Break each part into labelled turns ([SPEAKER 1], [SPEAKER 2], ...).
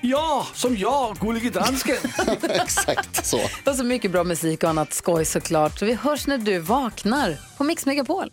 [SPEAKER 1] Ja, som jag, Gullige Dansken.
[SPEAKER 2] Exakt så.
[SPEAKER 3] Och så mycket bra musik och annat skoj såklart. Så vi hörs när du vaknar på Mix Megapol.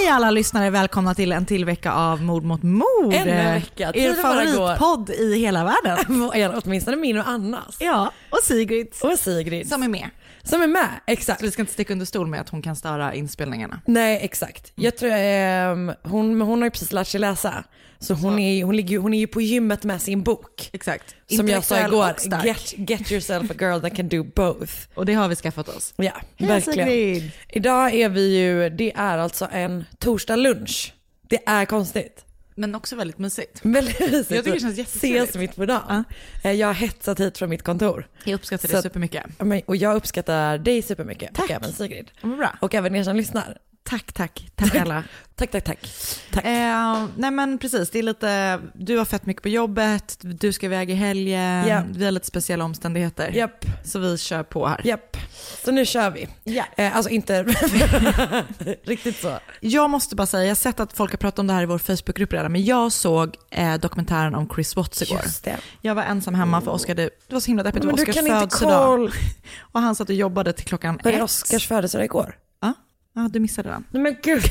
[SPEAKER 4] Hej alla lyssnare, välkomna till en till vecka av Mord mot mord. Eh,
[SPEAKER 5] Ännu en vecka.
[SPEAKER 4] Er
[SPEAKER 5] Tiden bara går.
[SPEAKER 4] favoritpodd i hela världen.
[SPEAKER 5] Eller åtminstone min och Annas.
[SPEAKER 4] Ja, och Sigrid
[SPEAKER 5] Och Sigrid.
[SPEAKER 4] som är med.
[SPEAKER 5] Som är med, exakt.
[SPEAKER 4] Vi ska inte sticka under stol med att hon kan störa inspelningarna.
[SPEAKER 5] Nej exakt. Jag tror, ehm, hon, hon har ju precis lärt sig läsa. Så hon är, hon, ligger, ju- hon är ju på gymmet med sin bok.
[SPEAKER 4] Exakt.
[SPEAKER 5] Som jag sa
[SPEAKER 4] Intellektuell och
[SPEAKER 5] igår,
[SPEAKER 4] stark.
[SPEAKER 5] get, get yourself a girl that can do both.
[SPEAKER 4] Och det har vi skaffat oss.
[SPEAKER 5] Ja,
[SPEAKER 4] Hej,
[SPEAKER 5] verkligen.
[SPEAKER 4] Sigrid.
[SPEAKER 5] Idag är vi ju, det är alltså en torsdag lunch. Det är konstigt.
[SPEAKER 4] Men också väldigt mysigt.
[SPEAKER 5] Väldigt mysigt.
[SPEAKER 4] Jag tycker det känns jättetrevligt.
[SPEAKER 5] Ses mitt på dagen. Eh, Jag har hetsat hit från mitt kontor.
[SPEAKER 4] Jag uppskattar
[SPEAKER 5] Så
[SPEAKER 4] det
[SPEAKER 5] att-
[SPEAKER 4] supermycket.
[SPEAKER 5] Ja, men- Och jag uppskattar dig supermycket. Och även Sigrid.
[SPEAKER 4] Ja, men bra.
[SPEAKER 5] Och även er som lyssnar.
[SPEAKER 4] Tack, tack, tack alla.
[SPEAKER 5] Tack, tack, tack. tack.
[SPEAKER 4] Eh, nej men precis, det är lite, du har fett mycket på jobbet, du ska iväg i helgen,
[SPEAKER 5] Ja.
[SPEAKER 4] vi har lite speciella omständigheter.
[SPEAKER 5] Japp,
[SPEAKER 4] Så vi kör på här.
[SPEAKER 5] japp. Så nu kör vi.
[SPEAKER 4] Ja.
[SPEAKER 5] Eh, alltså inte riktigt så.
[SPEAKER 4] Jag måste bara säga, jag har sett att folk har pratat om det här i vår Facebookgrupp redan, men jag såg eh, dokumentären om Chris Watts igår.
[SPEAKER 5] det.
[SPEAKER 4] Jag var ensam hemma för Oscar, det, det var så himla deppigt, det
[SPEAKER 5] Men
[SPEAKER 4] var
[SPEAKER 5] du
[SPEAKER 4] Oscars
[SPEAKER 5] kan inte
[SPEAKER 4] födelsedag.
[SPEAKER 5] koll.
[SPEAKER 4] Och han satt och jobbade till klockan
[SPEAKER 5] Var
[SPEAKER 4] ett.
[SPEAKER 5] det Oscars födelsedag igår?
[SPEAKER 4] Ja, ja, du missade den.
[SPEAKER 5] Nej men gud.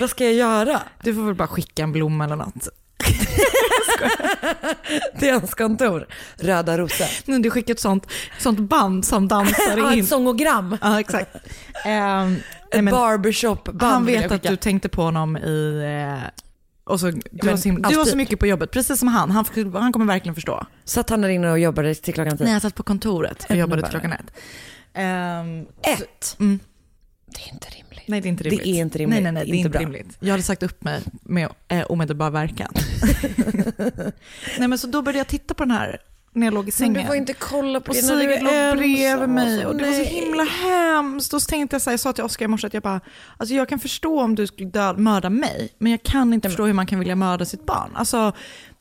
[SPEAKER 5] Vad ska jag göra?
[SPEAKER 4] Du får väl bara skicka en blomma eller något.
[SPEAKER 5] Till hans kontor. Röda rosor.
[SPEAKER 4] Nej, Du skickar ett sånt, sånt band som dansar
[SPEAKER 5] Ah,
[SPEAKER 4] in.
[SPEAKER 5] ett sångogram.
[SPEAKER 4] Ja, exakt. Ehm, nej,
[SPEAKER 5] Ett
[SPEAKER 4] men-
[SPEAKER 5] barbershop
[SPEAKER 4] Han vet att du tänkte på honom i... Eh, och så, du, har så himla, du har så
[SPEAKER 5] alltid.
[SPEAKER 4] mycket på jobbet, precis som han. Han, får- han kommer verkligen förstå.
[SPEAKER 5] Satt han där inne och jobbade till klockan tio?
[SPEAKER 4] Nej, jag satt på kontoret och jobbade till
[SPEAKER 5] bara.
[SPEAKER 4] klockan ett. Ehm,
[SPEAKER 5] Ett.
[SPEAKER 4] Mm.
[SPEAKER 5] Det är inte rimligt.
[SPEAKER 4] nej, det är inte
[SPEAKER 5] Det
[SPEAKER 4] rimligt.
[SPEAKER 5] är inte rimligt.
[SPEAKER 4] Nej, nej, nej, det är inte,
[SPEAKER 5] bra.
[SPEAKER 4] rimligt. Jag hade sagt upp mig med eh, omedelbar verkan. nej, men så då började jag titta på den här när jag låg i
[SPEAKER 5] Men
[SPEAKER 4] sängen.
[SPEAKER 5] du får inte kolla på
[SPEAKER 4] Och
[SPEAKER 5] det när du
[SPEAKER 4] Sigrid låg
[SPEAKER 5] är
[SPEAKER 4] bredvid
[SPEAKER 5] ensam.
[SPEAKER 4] mig och det var så
[SPEAKER 5] Alltså, Nej.
[SPEAKER 4] himla hemskt. Och så tänkte jag så här, jag sa till Oskar i morse att jag bara, alltså jag kan förstå om du skulle dö, mörda mig, men jag kan inte förstå hur man kan vilja mörda sitt barn. Alltså,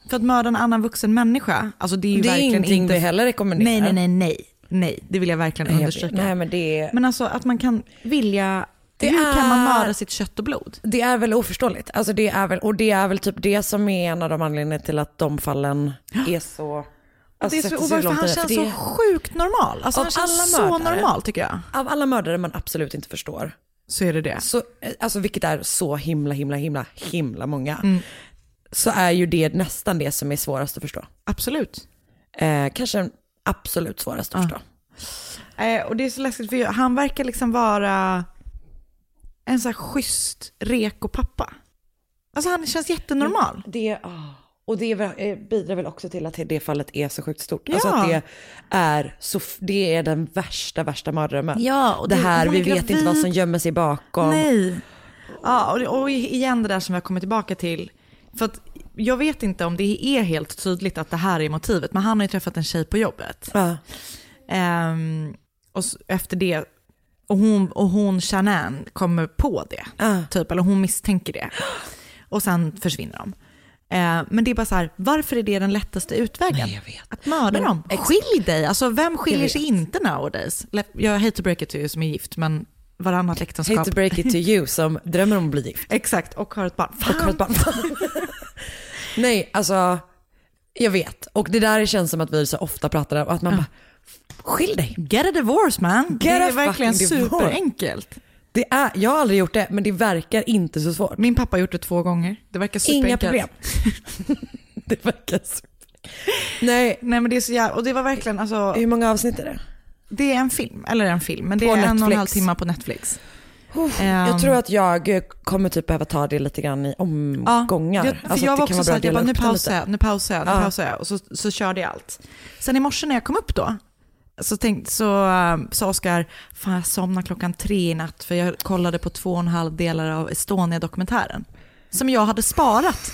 [SPEAKER 4] för att mörda en annan vuxen människa, alltså det är ju
[SPEAKER 5] Det är
[SPEAKER 4] verkligen
[SPEAKER 5] ingenting
[SPEAKER 4] inte...
[SPEAKER 5] vi heller rekommenderar.
[SPEAKER 4] Nej, nej, nej, nej, nej, det vill jag verkligen
[SPEAKER 5] Jag vet.
[SPEAKER 4] understryka.
[SPEAKER 5] Nej men det är...
[SPEAKER 4] Men alltså att man kan vilja,
[SPEAKER 5] Det
[SPEAKER 4] hur kan man
[SPEAKER 5] är-
[SPEAKER 4] mörda sitt kött och blod?
[SPEAKER 5] Det är väl oförståeligt. Alltså det är väl, och det är väl typ det som är en av de anledningarna till att de fallen är så...
[SPEAKER 4] Och det är
[SPEAKER 5] sätter
[SPEAKER 4] så,
[SPEAKER 5] sig
[SPEAKER 4] och varför
[SPEAKER 5] långt
[SPEAKER 4] han
[SPEAKER 5] inne, för
[SPEAKER 4] känns
[SPEAKER 5] det
[SPEAKER 4] så
[SPEAKER 5] är-
[SPEAKER 4] sjukt normal. Alltså
[SPEAKER 5] Av
[SPEAKER 4] han känns
[SPEAKER 5] alla
[SPEAKER 4] så
[SPEAKER 5] mördare.
[SPEAKER 4] normal tycker jag.
[SPEAKER 5] Av alla mördare man absolut inte förstår,
[SPEAKER 4] Så är det det.
[SPEAKER 5] så, eh, alltså vilket är så himla, himla, himla, himla många, så är ju det nästan det som är svårast att förstå.
[SPEAKER 4] Absolut.
[SPEAKER 5] Eh, kanske den absolut svårast att förstå.
[SPEAKER 4] Eh, och det är så läskigt för jag- han verkar liksom vara en sån här schysst reko pappa. Alltså han känns jättenormal.
[SPEAKER 5] Det, ah, och det är väl- eh, bidrar väl också till att det fallet är så sjukt stort.
[SPEAKER 4] Ja.
[SPEAKER 5] Alltså att det är, så, f- det är den värsta, värsta mardrömmen.
[SPEAKER 4] Ja, och
[SPEAKER 5] det,
[SPEAKER 4] det-
[SPEAKER 5] här,
[SPEAKER 4] hon
[SPEAKER 5] vi
[SPEAKER 4] är
[SPEAKER 5] vet inte vad som
[SPEAKER 4] gravid.
[SPEAKER 5] gömmer sig bakom.
[SPEAKER 4] Nej. Ja, och, det- och igen det där som jag kommer tillbaka till. För att jag vet inte om det är helt tydligt att det här är motivet, men han har ju träffat en tjej på jobbet.
[SPEAKER 5] Ja.
[SPEAKER 4] Ehm, och s- efter det Och hon, och hon Shanann kommer på det, typ, eller hon misstänker det. Och sen försvinner de. Eh, men det är bara så här, varför är det den lättaste utvägen?
[SPEAKER 5] Nej, jag vet.
[SPEAKER 4] Att mörda
[SPEAKER 5] Men-
[SPEAKER 4] dem.
[SPEAKER 5] Ex-
[SPEAKER 4] Skilj dig, alltså vem skiljer
[SPEAKER 5] vet.
[SPEAKER 4] sig inte nowadays? Le- Jag hate to break it to you som är gift, men varannat äktenskap.
[SPEAKER 5] Hate to break it to you som drömmer om att bli gift
[SPEAKER 4] Exakt, och har ett barn.
[SPEAKER 5] och har ett barn. Nej, alltså jag vet. Och det där känns som att vi så ofta pratar om, att man bara, skilj dig.
[SPEAKER 4] Get a divorce man. det
[SPEAKER 5] a
[SPEAKER 4] är verkligen
[SPEAKER 5] fucking divorce.
[SPEAKER 4] superenkelt.
[SPEAKER 5] Det är, jag har aldrig gjort det, men det verkar inte så svårt.
[SPEAKER 4] Min pappa har gjort det två gånger. Det verkar superenkelt.
[SPEAKER 5] Inga problem. det verkar så. Nej,
[SPEAKER 4] Nej men det är så jävla, och det var verkligen alltså,
[SPEAKER 5] hur många avsnitt är det?
[SPEAKER 4] det är en film, eller en film, men det
[SPEAKER 5] På
[SPEAKER 4] är en och en
[SPEAKER 5] Netflix.
[SPEAKER 4] halv timme på Netflix.
[SPEAKER 5] Jag tror att jag kommer typ behöva ta det lite grann i omgångar.
[SPEAKER 4] Jag, för
[SPEAKER 5] Alltså
[SPEAKER 4] jag
[SPEAKER 5] att
[SPEAKER 4] var
[SPEAKER 5] det kan
[SPEAKER 4] också
[SPEAKER 5] vara bra
[SPEAKER 4] såhär, jag
[SPEAKER 5] dela
[SPEAKER 4] bara nu
[SPEAKER 5] upp dem
[SPEAKER 4] pausar
[SPEAKER 5] lite.
[SPEAKER 4] jag, nu pausar jag, nu
[SPEAKER 5] Ja.
[SPEAKER 4] pausar jag och så, så körde jag allt. Sen i morse när jag kom upp då, så, tänkte, så äh, sa Oskar, fan jag somnade klockan tre i natt för jag kollade på två och en halv delar av Estonia-dokumentären. Som jag hade sparat.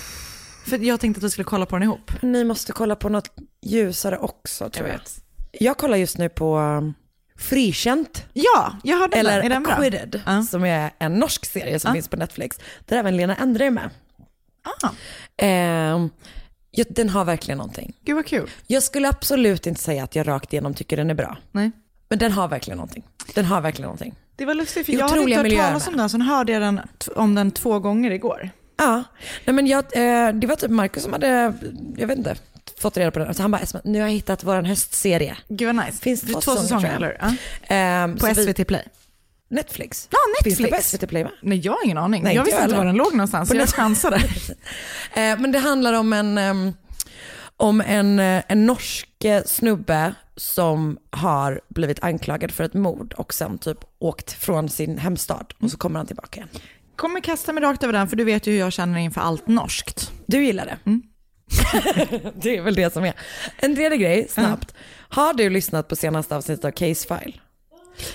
[SPEAKER 4] För jag tänkte att vi skulle kolla på den ihop.
[SPEAKER 5] Ni måste kolla på något ljusare också tror jag. Jag, kollar just nu på um, Frikänt.
[SPEAKER 4] Ja, jag hörde den. Är
[SPEAKER 5] Eller
[SPEAKER 4] den bra?
[SPEAKER 5] Acquitted,
[SPEAKER 4] Ja.
[SPEAKER 5] som är en norsk serie som finns på Netflix. Där även Lena Endre är med.
[SPEAKER 4] Ah,
[SPEAKER 5] Ehm, ja, den har verkligen någonting.
[SPEAKER 4] gud vad kul.
[SPEAKER 5] Jag skulle absolut inte säga att jag rakt igenom tycker den är bra.
[SPEAKER 4] Nej.
[SPEAKER 5] Men den har verkligen någonting. Den har verkligen någonting.
[SPEAKER 4] Det var lustigt för
[SPEAKER 5] Det är
[SPEAKER 4] jag hade inte
[SPEAKER 5] otroliga
[SPEAKER 4] hört
[SPEAKER 5] miljöer
[SPEAKER 4] talas
[SPEAKER 5] med.
[SPEAKER 4] om den, sen hörde jag den, t- om den två gånger igår.
[SPEAKER 5] Ja, Nej, men jag, eh, det var typ Marcus som hade, jag vet inte, fått reda på den. Så han bara, "Esma, nu har jag hittat vår höstserie.
[SPEAKER 4] Gud vad nice.
[SPEAKER 5] Finns
[SPEAKER 4] det
[SPEAKER 5] två
[SPEAKER 4] är två säsonger
[SPEAKER 5] säsonger,
[SPEAKER 4] eller? Ja.
[SPEAKER 5] Ehm,
[SPEAKER 4] På
[SPEAKER 5] så vi-
[SPEAKER 4] SVT Play?
[SPEAKER 5] Netflix.
[SPEAKER 4] Ja, Netflix.
[SPEAKER 5] Finns det på SVT Play med?
[SPEAKER 4] Nej, jag har ingen aning.
[SPEAKER 5] Nej,
[SPEAKER 4] jag
[SPEAKER 5] inte
[SPEAKER 4] visste
[SPEAKER 5] jag
[SPEAKER 4] inte var
[SPEAKER 5] heller.
[SPEAKER 4] den låg någonstans,
[SPEAKER 5] På
[SPEAKER 4] så jag
[SPEAKER 5] Net-
[SPEAKER 4] chansade.
[SPEAKER 5] Eh, men det handlar om en, ehm, om en, eh, en norsk eh, snubbe som har blivit anklagad för ett mord och sen typ åkt från sin hemstad och så kommer han tillbaka igen.
[SPEAKER 4] Kommer kasta mig rakt över den, för du vet ju hur jag känner inför allt norskt. Mm.
[SPEAKER 5] Du gillar det? det är väl det som är. En tredje grej, snabbt. Har du lyssnat på senaste avsnittet av Case File?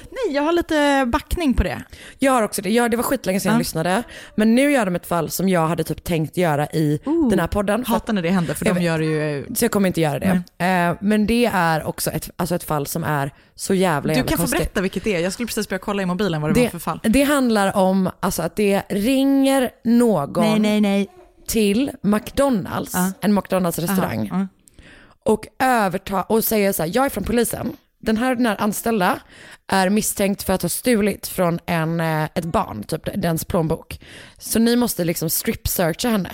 [SPEAKER 4] Nej, jag har lite backning på det.
[SPEAKER 5] Jag har också det. Ja, det var skitlänge sedan jag lyssnade. Men nu gör de ett fall som jag hade typ tänkt göra i den här podden. För att-
[SPEAKER 4] Hatar när det händer, för
[SPEAKER 5] Jag
[SPEAKER 4] de
[SPEAKER 5] vet.
[SPEAKER 4] gör det ju... eh,
[SPEAKER 5] Så jag kommer inte göra det. Eh, men det är också ett, alltså ett fall som är så jävla,
[SPEAKER 4] Du
[SPEAKER 5] jävla
[SPEAKER 4] kan få
[SPEAKER 5] konstigt.
[SPEAKER 4] berätta vilket det är. Jag skulle precis börja kolla i mobilen vad det, var för fall.
[SPEAKER 5] det, det handlar om alltså, att det ringer någon
[SPEAKER 4] nej. Ah.
[SPEAKER 5] till McDonalds, en McDonalds-restaurang. Och överta och säger så här, jag är från polisen. Den här, den här anställda är misstänkt för att ha stulit från en, eh, ett barn, typ dens plånbok. Så ni måste liksom strip-searcha henne.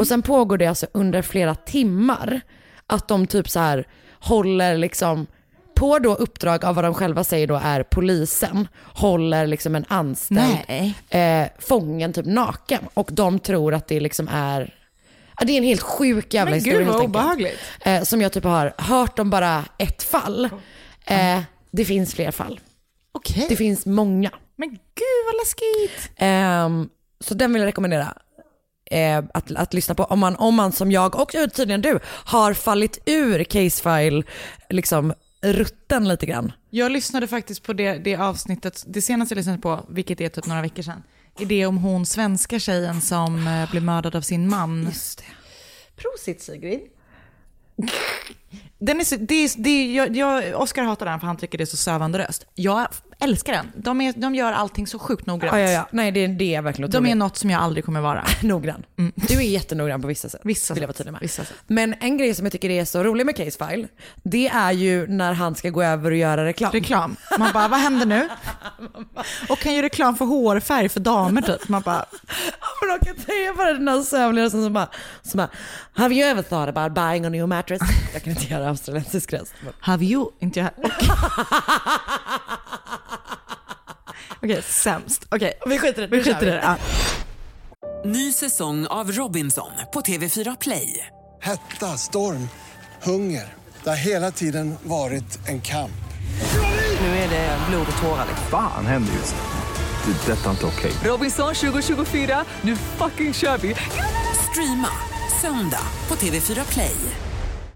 [SPEAKER 5] Och sen pågår det alltså under flera timmar att de typ så här håller liksom på då uppdrag av vad de själva säger då är polisen, håller liksom en anställd
[SPEAKER 4] Nej.
[SPEAKER 5] eh, fången typ naken och de tror att det liksom är Ja, det är en helt sjuk jävla
[SPEAKER 4] Men
[SPEAKER 5] historia
[SPEAKER 4] gud, vad
[SPEAKER 5] helt enkelt.
[SPEAKER 4] obehagligt.
[SPEAKER 5] Eh, som jag typ har hört om bara ett fall. Eh, det finns fler fall.
[SPEAKER 4] Okej.
[SPEAKER 5] Det finns många.
[SPEAKER 4] Men gud vad läskigt.
[SPEAKER 5] Ehm, så den vill jag rekommendera eh, att, att lyssna på. Om man, om man som jag och tydligen du har fallit ur casefile liksom rutten lite grann.
[SPEAKER 4] Jag lyssnade faktiskt på det, det avsnittet, det senaste jag lyssnade på, vilket är typ några veckor sedan, är det om hon svenska tjejen som eh, blev mördad av sin man. Just det. Prosit Sigrid. Den är, så- det är, det är, jag, jag, Oscar hatar den för han tycker det är så sövande röst. Jag älskar den. De, är, de gör allting så sjukt noggrant.
[SPEAKER 5] Ja, ja, ja. Nej, det, det är verkligen
[SPEAKER 4] De
[SPEAKER 5] otroligt.
[SPEAKER 4] är något som jag aldrig kommer vara. Mm.
[SPEAKER 5] noggrann. Du är jättenoggrann på vissa sätt.
[SPEAKER 4] Vissa
[SPEAKER 5] vill jag vara
[SPEAKER 4] sätt.
[SPEAKER 5] tydlig med.
[SPEAKER 4] Vissa sätt.
[SPEAKER 5] Men en grej som jag tycker är så rolig med Casefile, det är ju när han ska gå över och göra reklam.
[SPEAKER 4] Reklam. Man bara, vad händer nu? Och kan ju reklam för hårfärg för damer typ. Man bara,
[SPEAKER 5] Men de kan tänka på den här sömnlösen som bara, som bara, have you ever thought about buying a new mattress? Jag kan inte göra australiensisk röst. men-
[SPEAKER 4] Have you? Inte jag. Okej, Okej, sämst. Okej,
[SPEAKER 5] Vi skiter i det,
[SPEAKER 4] vi
[SPEAKER 5] nu kör
[SPEAKER 4] skiter i det. Ja.
[SPEAKER 6] Ny säsong av Robinson på TV4 Play.
[SPEAKER 7] Hetta, storm, hunger. Det har hela tiden varit en kamp.
[SPEAKER 6] Nu är det blod och tårar. liksom.
[SPEAKER 8] Fan händer just det. Det är detta inte okej.
[SPEAKER 6] Robinson 2024, nu fucking kör vi! Streama söndag på TV4 Play.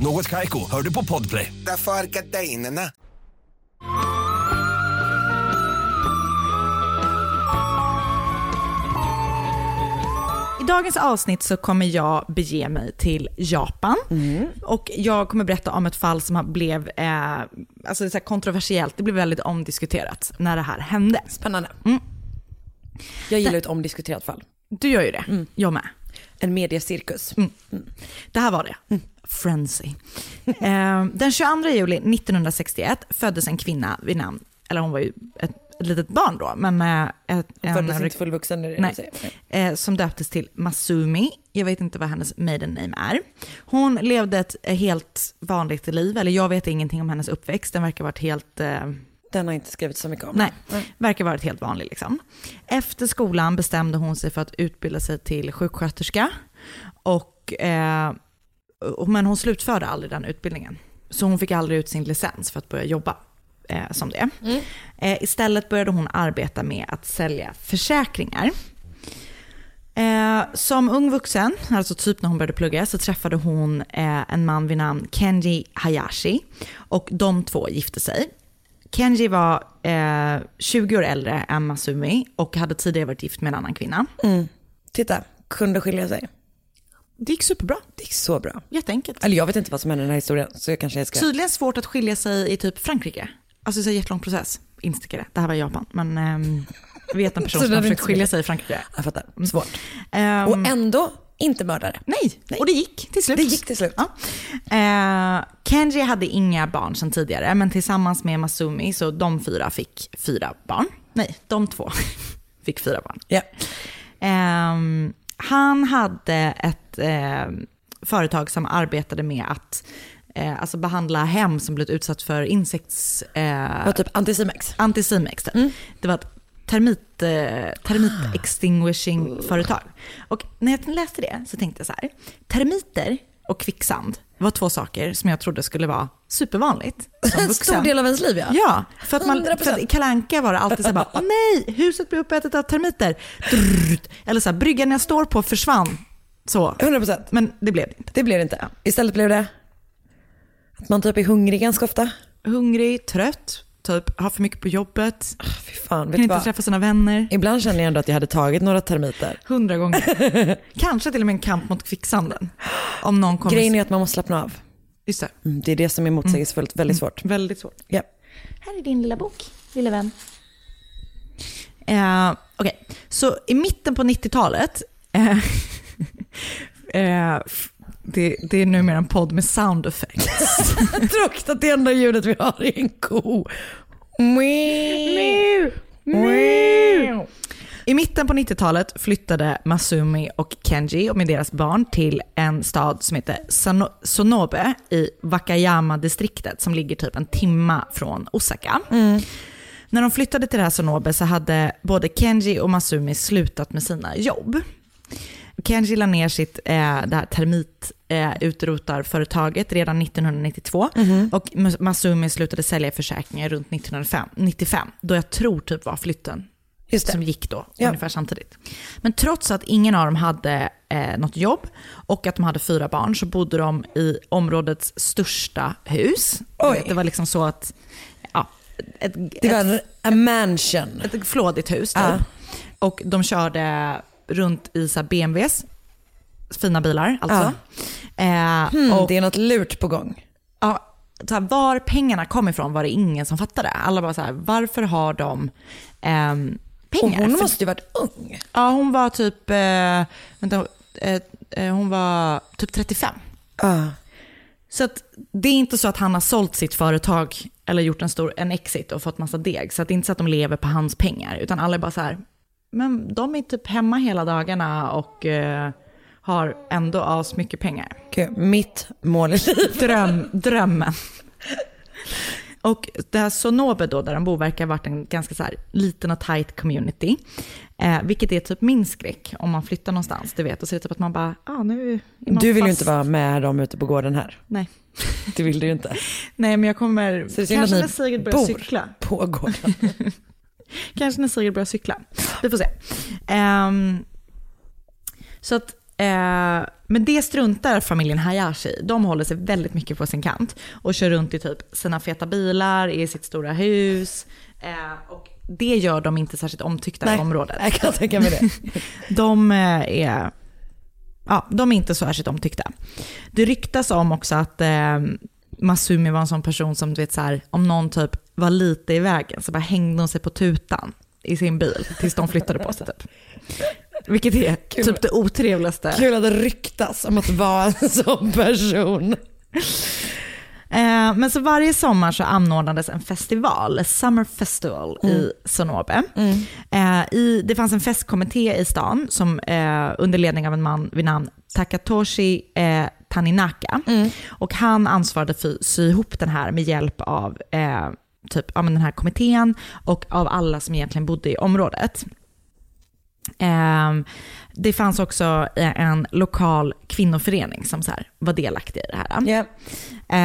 [SPEAKER 9] Något Kaiko, hör du på podplay.
[SPEAKER 10] Därför är gardinerna.
[SPEAKER 4] I dagens avsnitt så kommer jag bege mig till Japan
[SPEAKER 5] Mm.
[SPEAKER 4] och jag kommer berätta om ett fall som har- blev eh, alltså det är så här kontroversiellt. Det blev väldigt omdiskuterat när det här hände.
[SPEAKER 5] Spännande.
[SPEAKER 4] Mm.
[SPEAKER 5] Jag gillar ju ett omdiskuterat fall.
[SPEAKER 4] Du gör ju det,
[SPEAKER 5] Mm.
[SPEAKER 4] jag med.
[SPEAKER 5] En mediecirkus.
[SPEAKER 4] Mm. Det här var det.
[SPEAKER 5] Mm.
[SPEAKER 4] Frenzy. Eh, Den 22 juli 1961 föddes en kvinna vid namn, eller hon var ju ett, ett litet barn då, men med ett,
[SPEAKER 5] Hon föddes inte fullvuxen, är det det du
[SPEAKER 4] nej,
[SPEAKER 5] säger?
[SPEAKER 4] eh, som döptes till Masumi. Jag vet inte vad hennes maiden name är. Hon levde ett eh, helt vanligt liv, eller jag vet ingenting om hennes uppväxt. Den verkar ha varit helt... Eh,
[SPEAKER 5] Den har inte skrivit så mycket om.
[SPEAKER 4] Nej, verkar ha varit helt vanlig liksom. Efter skolan bestämde hon sig för att utbilda sig till sjuksköterska. Och, eh, och- men hon slutförde aldrig den utbildningen. Så hon fick aldrig ut sin licens för att börja jobba eh, som det. Eh, istället började hon arbeta med att sälja försäkringar. Eh, som ung vuxen, alltså typ när hon började plugga, så träffade hon eh, en man vid namn Kenji Hayashi. Och de två gifte sig. Kenji var eh, 20 år äldre än Masumi och hade tidigare varit gift med en annan kvinna.
[SPEAKER 5] Titta, kunde skilja sig.
[SPEAKER 4] Det gick superbra.
[SPEAKER 5] Det gick så bra.
[SPEAKER 4] Jätteenkelt.
[SPEAKER 5] Eller jag vet inte vad som hände i den här historien, så jag kanske ska...
[SPEAKER 4] Tydligen svårt att skilja sig i typ Frankrike. Alltså det är en jättelång process. Instickare. Det här var i Japan. Men ehm, jag vet en person
[SPEAKER 5] Så
[SPEAKER 4] som
[SPEAKER 5] det
[SPEAKER 4] har
[SPEAKER 5] hade
[SPEAKER 4] försökt
[SPEAKER 5] inte
[SPEAKER 4] skilja
[SPEAKER 5] blivit.
[SPEAKER 4] sig i Frankrike. Mm.
[SPEAKER 5] Jag fattar. Svårt.
[SPEAKER 4] Ehm,
[SPEAKER 5] Och ändå inte mördare.
[SPEAKER 4] Nej. och det gick till slut.
[SPEAKER 5] Det gick till slut.
[SPEAKER 4] Eh, Kenji hade inga barn sedan tidigare, men tillsammans med Masumi, så de fyra fick fyra barn. Nej, de två fick fyra barn. Ehm, han hade ett ehm, företag som arbetade med att eh, alltså behandla hem som blivit utsatt för insekts... Eh,
[SPEAKER 5] Vad typ antisimex?
[SPEAKER 4] Antisimex, typ.
[SPEAKER 5] Mm.
[SPEAKER 4] Det var ett termit, eh,
[SPEAKER 5] Ah.
[SPEAKER 4] termit-extinguishing-företag. Och när jag läste det så tänkte jag så här, termiter och kvicksand var två saker som jag trodde skulle vara supervanligt. som
[SPEAKER 5] En
[SPEAKER 4] vuxen.
[SPEAKER 5] stor del av ens liv ja.
[SPEAKER 4] Ja, för att, man,
[SPEAKER 5] 100%.
[SPEAKER 4] för att i Kalanka var det alltid så här bara, åh nej, huset blev uppätet av termiter. Drrrt. Eller så här, bryggan jag står på försvann. Så.
[SPEAKER 5] 100%.
[SPEAKER 4] Men det blev det inte.
[SPEAKER 5] Det blev det inte. Istället blev det att man typ är hungrig ganska ofta.
[SPEAKER 4] Hungrig, trött, typ har för mycket på jobbet.
[SPEAKER 5] Ah, Fy fan, vet
[SPEAKER 4] Kan
[SPEAKER 5] du
[SPEAKER 4] inte
[SPEAKER 5] vad?
[SPEAKER 4] träffa sina vänner.
[SPEAKER 5] Ibland känner jag ändå att jag hade tagit några termiter.
[SPEAKER 4] Hundra gånger. Kanske till och med en kamp mot kvicksanden. Om någon kommer...
[SPEAKER 5] Grejen är att man måste slappna av.
[SPEAKER 4] Just det.
[SPEAKER 5] Mm, det är det som är motsägelsefullt, väldigt
[SPEAKER 4] Mm.
[SPEAKER 5] svårt.
[SPEAKER 4] Väldigt svårt.
[SPEAKER 5] Ja.
[SPEAKER 4] Här är din lilla bok, lille vän. Eh, Okej, så i mitten på 90-talet, eh, eh, f- det, det är numera en podd med sound effects.
[SPEAKER 5] Tråkigt att det enda ljudet vi har är en ko. Meow. Meow.
[SPEAKER 4] I mitten på 90-talet flyttade Masumi och Kenji och med deras barn till en stad som heter Sano- Sonobe i Wakayama-distriktet som ligger typ en timma från Osaka. När de flyttade till det här Sonobe så hade både Kenji och Masumi slutat med sina jobb. Kenji la ner sitt eh, det här termitutrotarföretaget redan 1992 och Mas- Masumi slutade sälja försäkringar runt 1995, då jag tror typ var flytten
[SPEAKER 5] Just det.
[SPEAKER 4] som gick då,
[SPEAKER 5] Ja.
[SPEAKER 4] ungefär samtidigt. Men trots att ingen av dem hade eh, något jobb och att de hade fyra barn så bodde de i områdets största hus.
[SPEAKER 5] Oj.
[SPEAKER 4] Det var liksom så att, ja, ett,
[SPEAKER 5] Det var
[SPEAKER 4] ett
[SPEAKER 5] en a mansion.
[SPEAKER 4] ett flådigt hus typ.
[SPEAKER 5] Ja.
[SPEAKER 4] Och de körde runt i så här BMWs, fina bilar alltså. Eh,
[SPEAKER 5] Mm,
[SPEAKER 4] och,
[SPEAKER 5] det är något lurt på gång.
[SPEAKER 4] ja, så här, var pengarna kom ifrån var det ingen som fattade. Alla bara så här, varför har de ehm,
[SPEAKER 5] Och
[SPEAKER 4] pengar?
[SPEAKER 5] hon
[SPEAKER 4] För-
[SPEAKER 5] måste ju varit ung.
[SPEAKER 4] Ja, hon var typ, eh, vänta, eh, eh, hon var typ 35.
[SPEAKER 5] Ja.
[SPEAKER 4] Så att, det är inte så att han har sålt sitt företag eller gjort en stor en exit och fått massa deg. Så att det är inte så att de lever på hans pengar, utan alla är bara så här, men de är typ hemma hela dagarna och eh, har ändå as mycket pengar.
[SPEAKER 5] Gud, mitt mål i livet.
[SPEAKER 4] Dröm, drömmen. Och det här Sonobe då, där de bor, verkar ha varit en ganska så här liten och tight community. Eh, vilket är typ min skräck om man flyttar någonstans, du vet. Och så är det typ att man bara, ah, nu är man
[SPEAKER 5] Du vill ju
[SPEAKER 4] fast.
[SPEAKER 5] inte vara med dem ute på gården här.
[SPEAKER 4] Nej.
[SPEAKER 5] Det vill du ju inte.
[SPEAKER 4] Nej, men jag kommer...
[SPEAKER 5] Så det är synd
[SPEAKER 4] kanske
[SPEAKER 5] att
[SPEAKER 4] när
[SPEAKER 5] ni
[SPEAKER 4] Sigrid börjar
[SPEAKER 5] bor
[SPEAKER 4] cykla.
[SPEAKER 5] på gården.
[SPEAKER 4] Kanske när Sigrid börjar cykla. Vi får se. Ehm, så att, eh, men det struntar familjen Hayashi i. De håller sig väldigt mycket på sin kant och kör runt i typ sina feta bilar, i sitt stora hus. Eh, och det gör de inte särskilt omtyckta i området.
[SPEAKER 5] Jag kan tänka mig det.
[SPEAKER 4] de eh, är... Ja, de är inte så särskilt omtyckta. Det ryktas om också att eh, Masumi var en sån person som, du vet så här, om någon typ var lite i vägen så bara hängde hon sig på tutan i sin bil tills de flyttade på sig typ. Vilket är
[SPEAKER 5] Kul.
[SPEAKER 4] typ det otrevligaste.
[SPEAKER 5] Kul att det ryktas om att vara en sån person.
[SPEAKER 4] Eh, men så varje sommar så anordnades en festival, Summer Festival i Sonobe. Eh, i, det fanns en festkommitté i stan som, eh, under ledning av en man vid namn Takatoshi eh, Taninaka. Och han ansvarade för att sy ihop den här med hjälp av eh, typ, ja, men den här kommittén och av alla som egentligen bodde i området. Ehm, det fanns också eh, en lokal kvinnoförening som så här var delaktig i det här.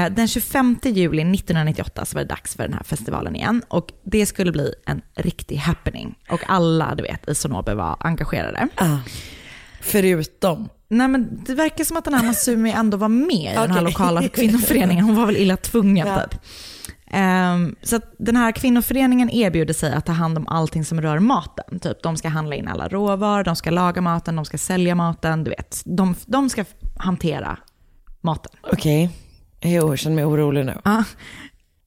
[SPEAKER 4] Eh, Den 25 juli 1998 så var det dags för den här festivalen igen och det skulle bli en riktig happening. Och alla du vet, i Sonobe var engagerade.
[SPEAKER 5] Förutom?
[SPEAKER 4] Nej men det verkar som att den här Masumi ändå var med i den här lokala kvinnoföreningen. Hon var väl illa tvungen
[SPEAKER 5] Ja.
[SPEAKER 4] typ. Ehm, så att den här kvinnoföreningen erbjuder sig att ta hand om allting som rör maten. Typ, de ska handla in alla råvaror, de ska laga maten, de ska sälja maten, du vet. De, de ska hantera maten.
[SPEAKER 5] Okej, Jo, jag känner mig orolig nu.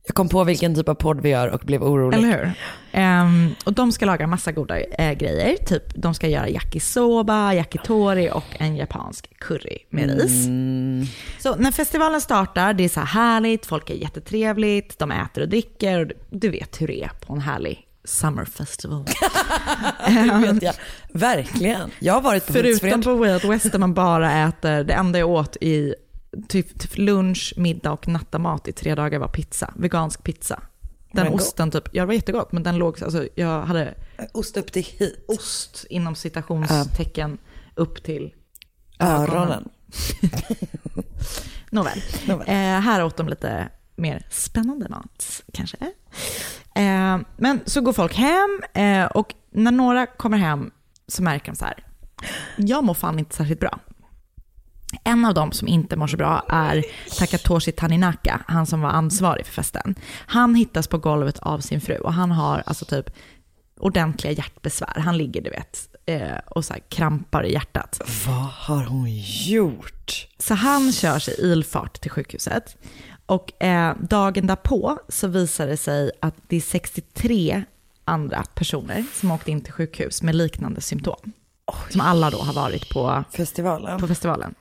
[SPEAKER 5] Jag kom på vilken typ av podd vi gör och blev orolig.
[SPEAKER 4] Eller hur? Ehm, och de ska laga massa goda eh, grejer. Typ, de ska göra yakisoba, yakitori och en japansk curry med ris. Så när festivalen startar, det är så här härligt, folk är jättetrevligt, de äter och dricker. Och du- du vet hur det är på en härlig summer festival.
[SPEAKER 5] Det vet jag. Verkligen. Jag har varit på
[SPEAKER 4] Förutom
[SPEAKER 5] Hultsfred.
[SPEAKER 4] på Way Out West där man bara äter, det enda jag åt i typ, typ lunch, middag och nattamat i tre dagar var pizza. Vegansk pizza. Den
[SPEAKER 5] Men gott.
[SPEAKER 4] osten typ, ja det var jättegott men den låg, alltså jag hade
[SPEAKER 5] Ost upp till hit.
[SPEAKER 4] Ost inom citationstecken upp till
[SPEAKER 5] Öronen.
[SPEAKER 4] Nåväl. Eh, här åt de lite mer spännande mat kanske. Eh, men så går folk hem eh, och när några kommer hem så märker de så här, jag mår fan inte särskilt bra. En av dem som inte mår så bra är Takatoshi Taninaka, han som var ansvarig för festen. Han hittas på golvet av sin fru och han har alltså typ ordentliga hjärtbesvär. Han ligger du vet eh, och så här krampar i hjärtat.
[SPEAKER 5] Vad har hon gjort?
[SPEAKER 4] Så han körs i ilfart till sjukhuset. Och eh, dagen därpå så visar det sig att det är 63 andra personer som åkte in till sjukhus med liknande symptom. Som alla då har varit på
[SPEAKER 5] festivalen.
[SPEAKER 4] På festivalen.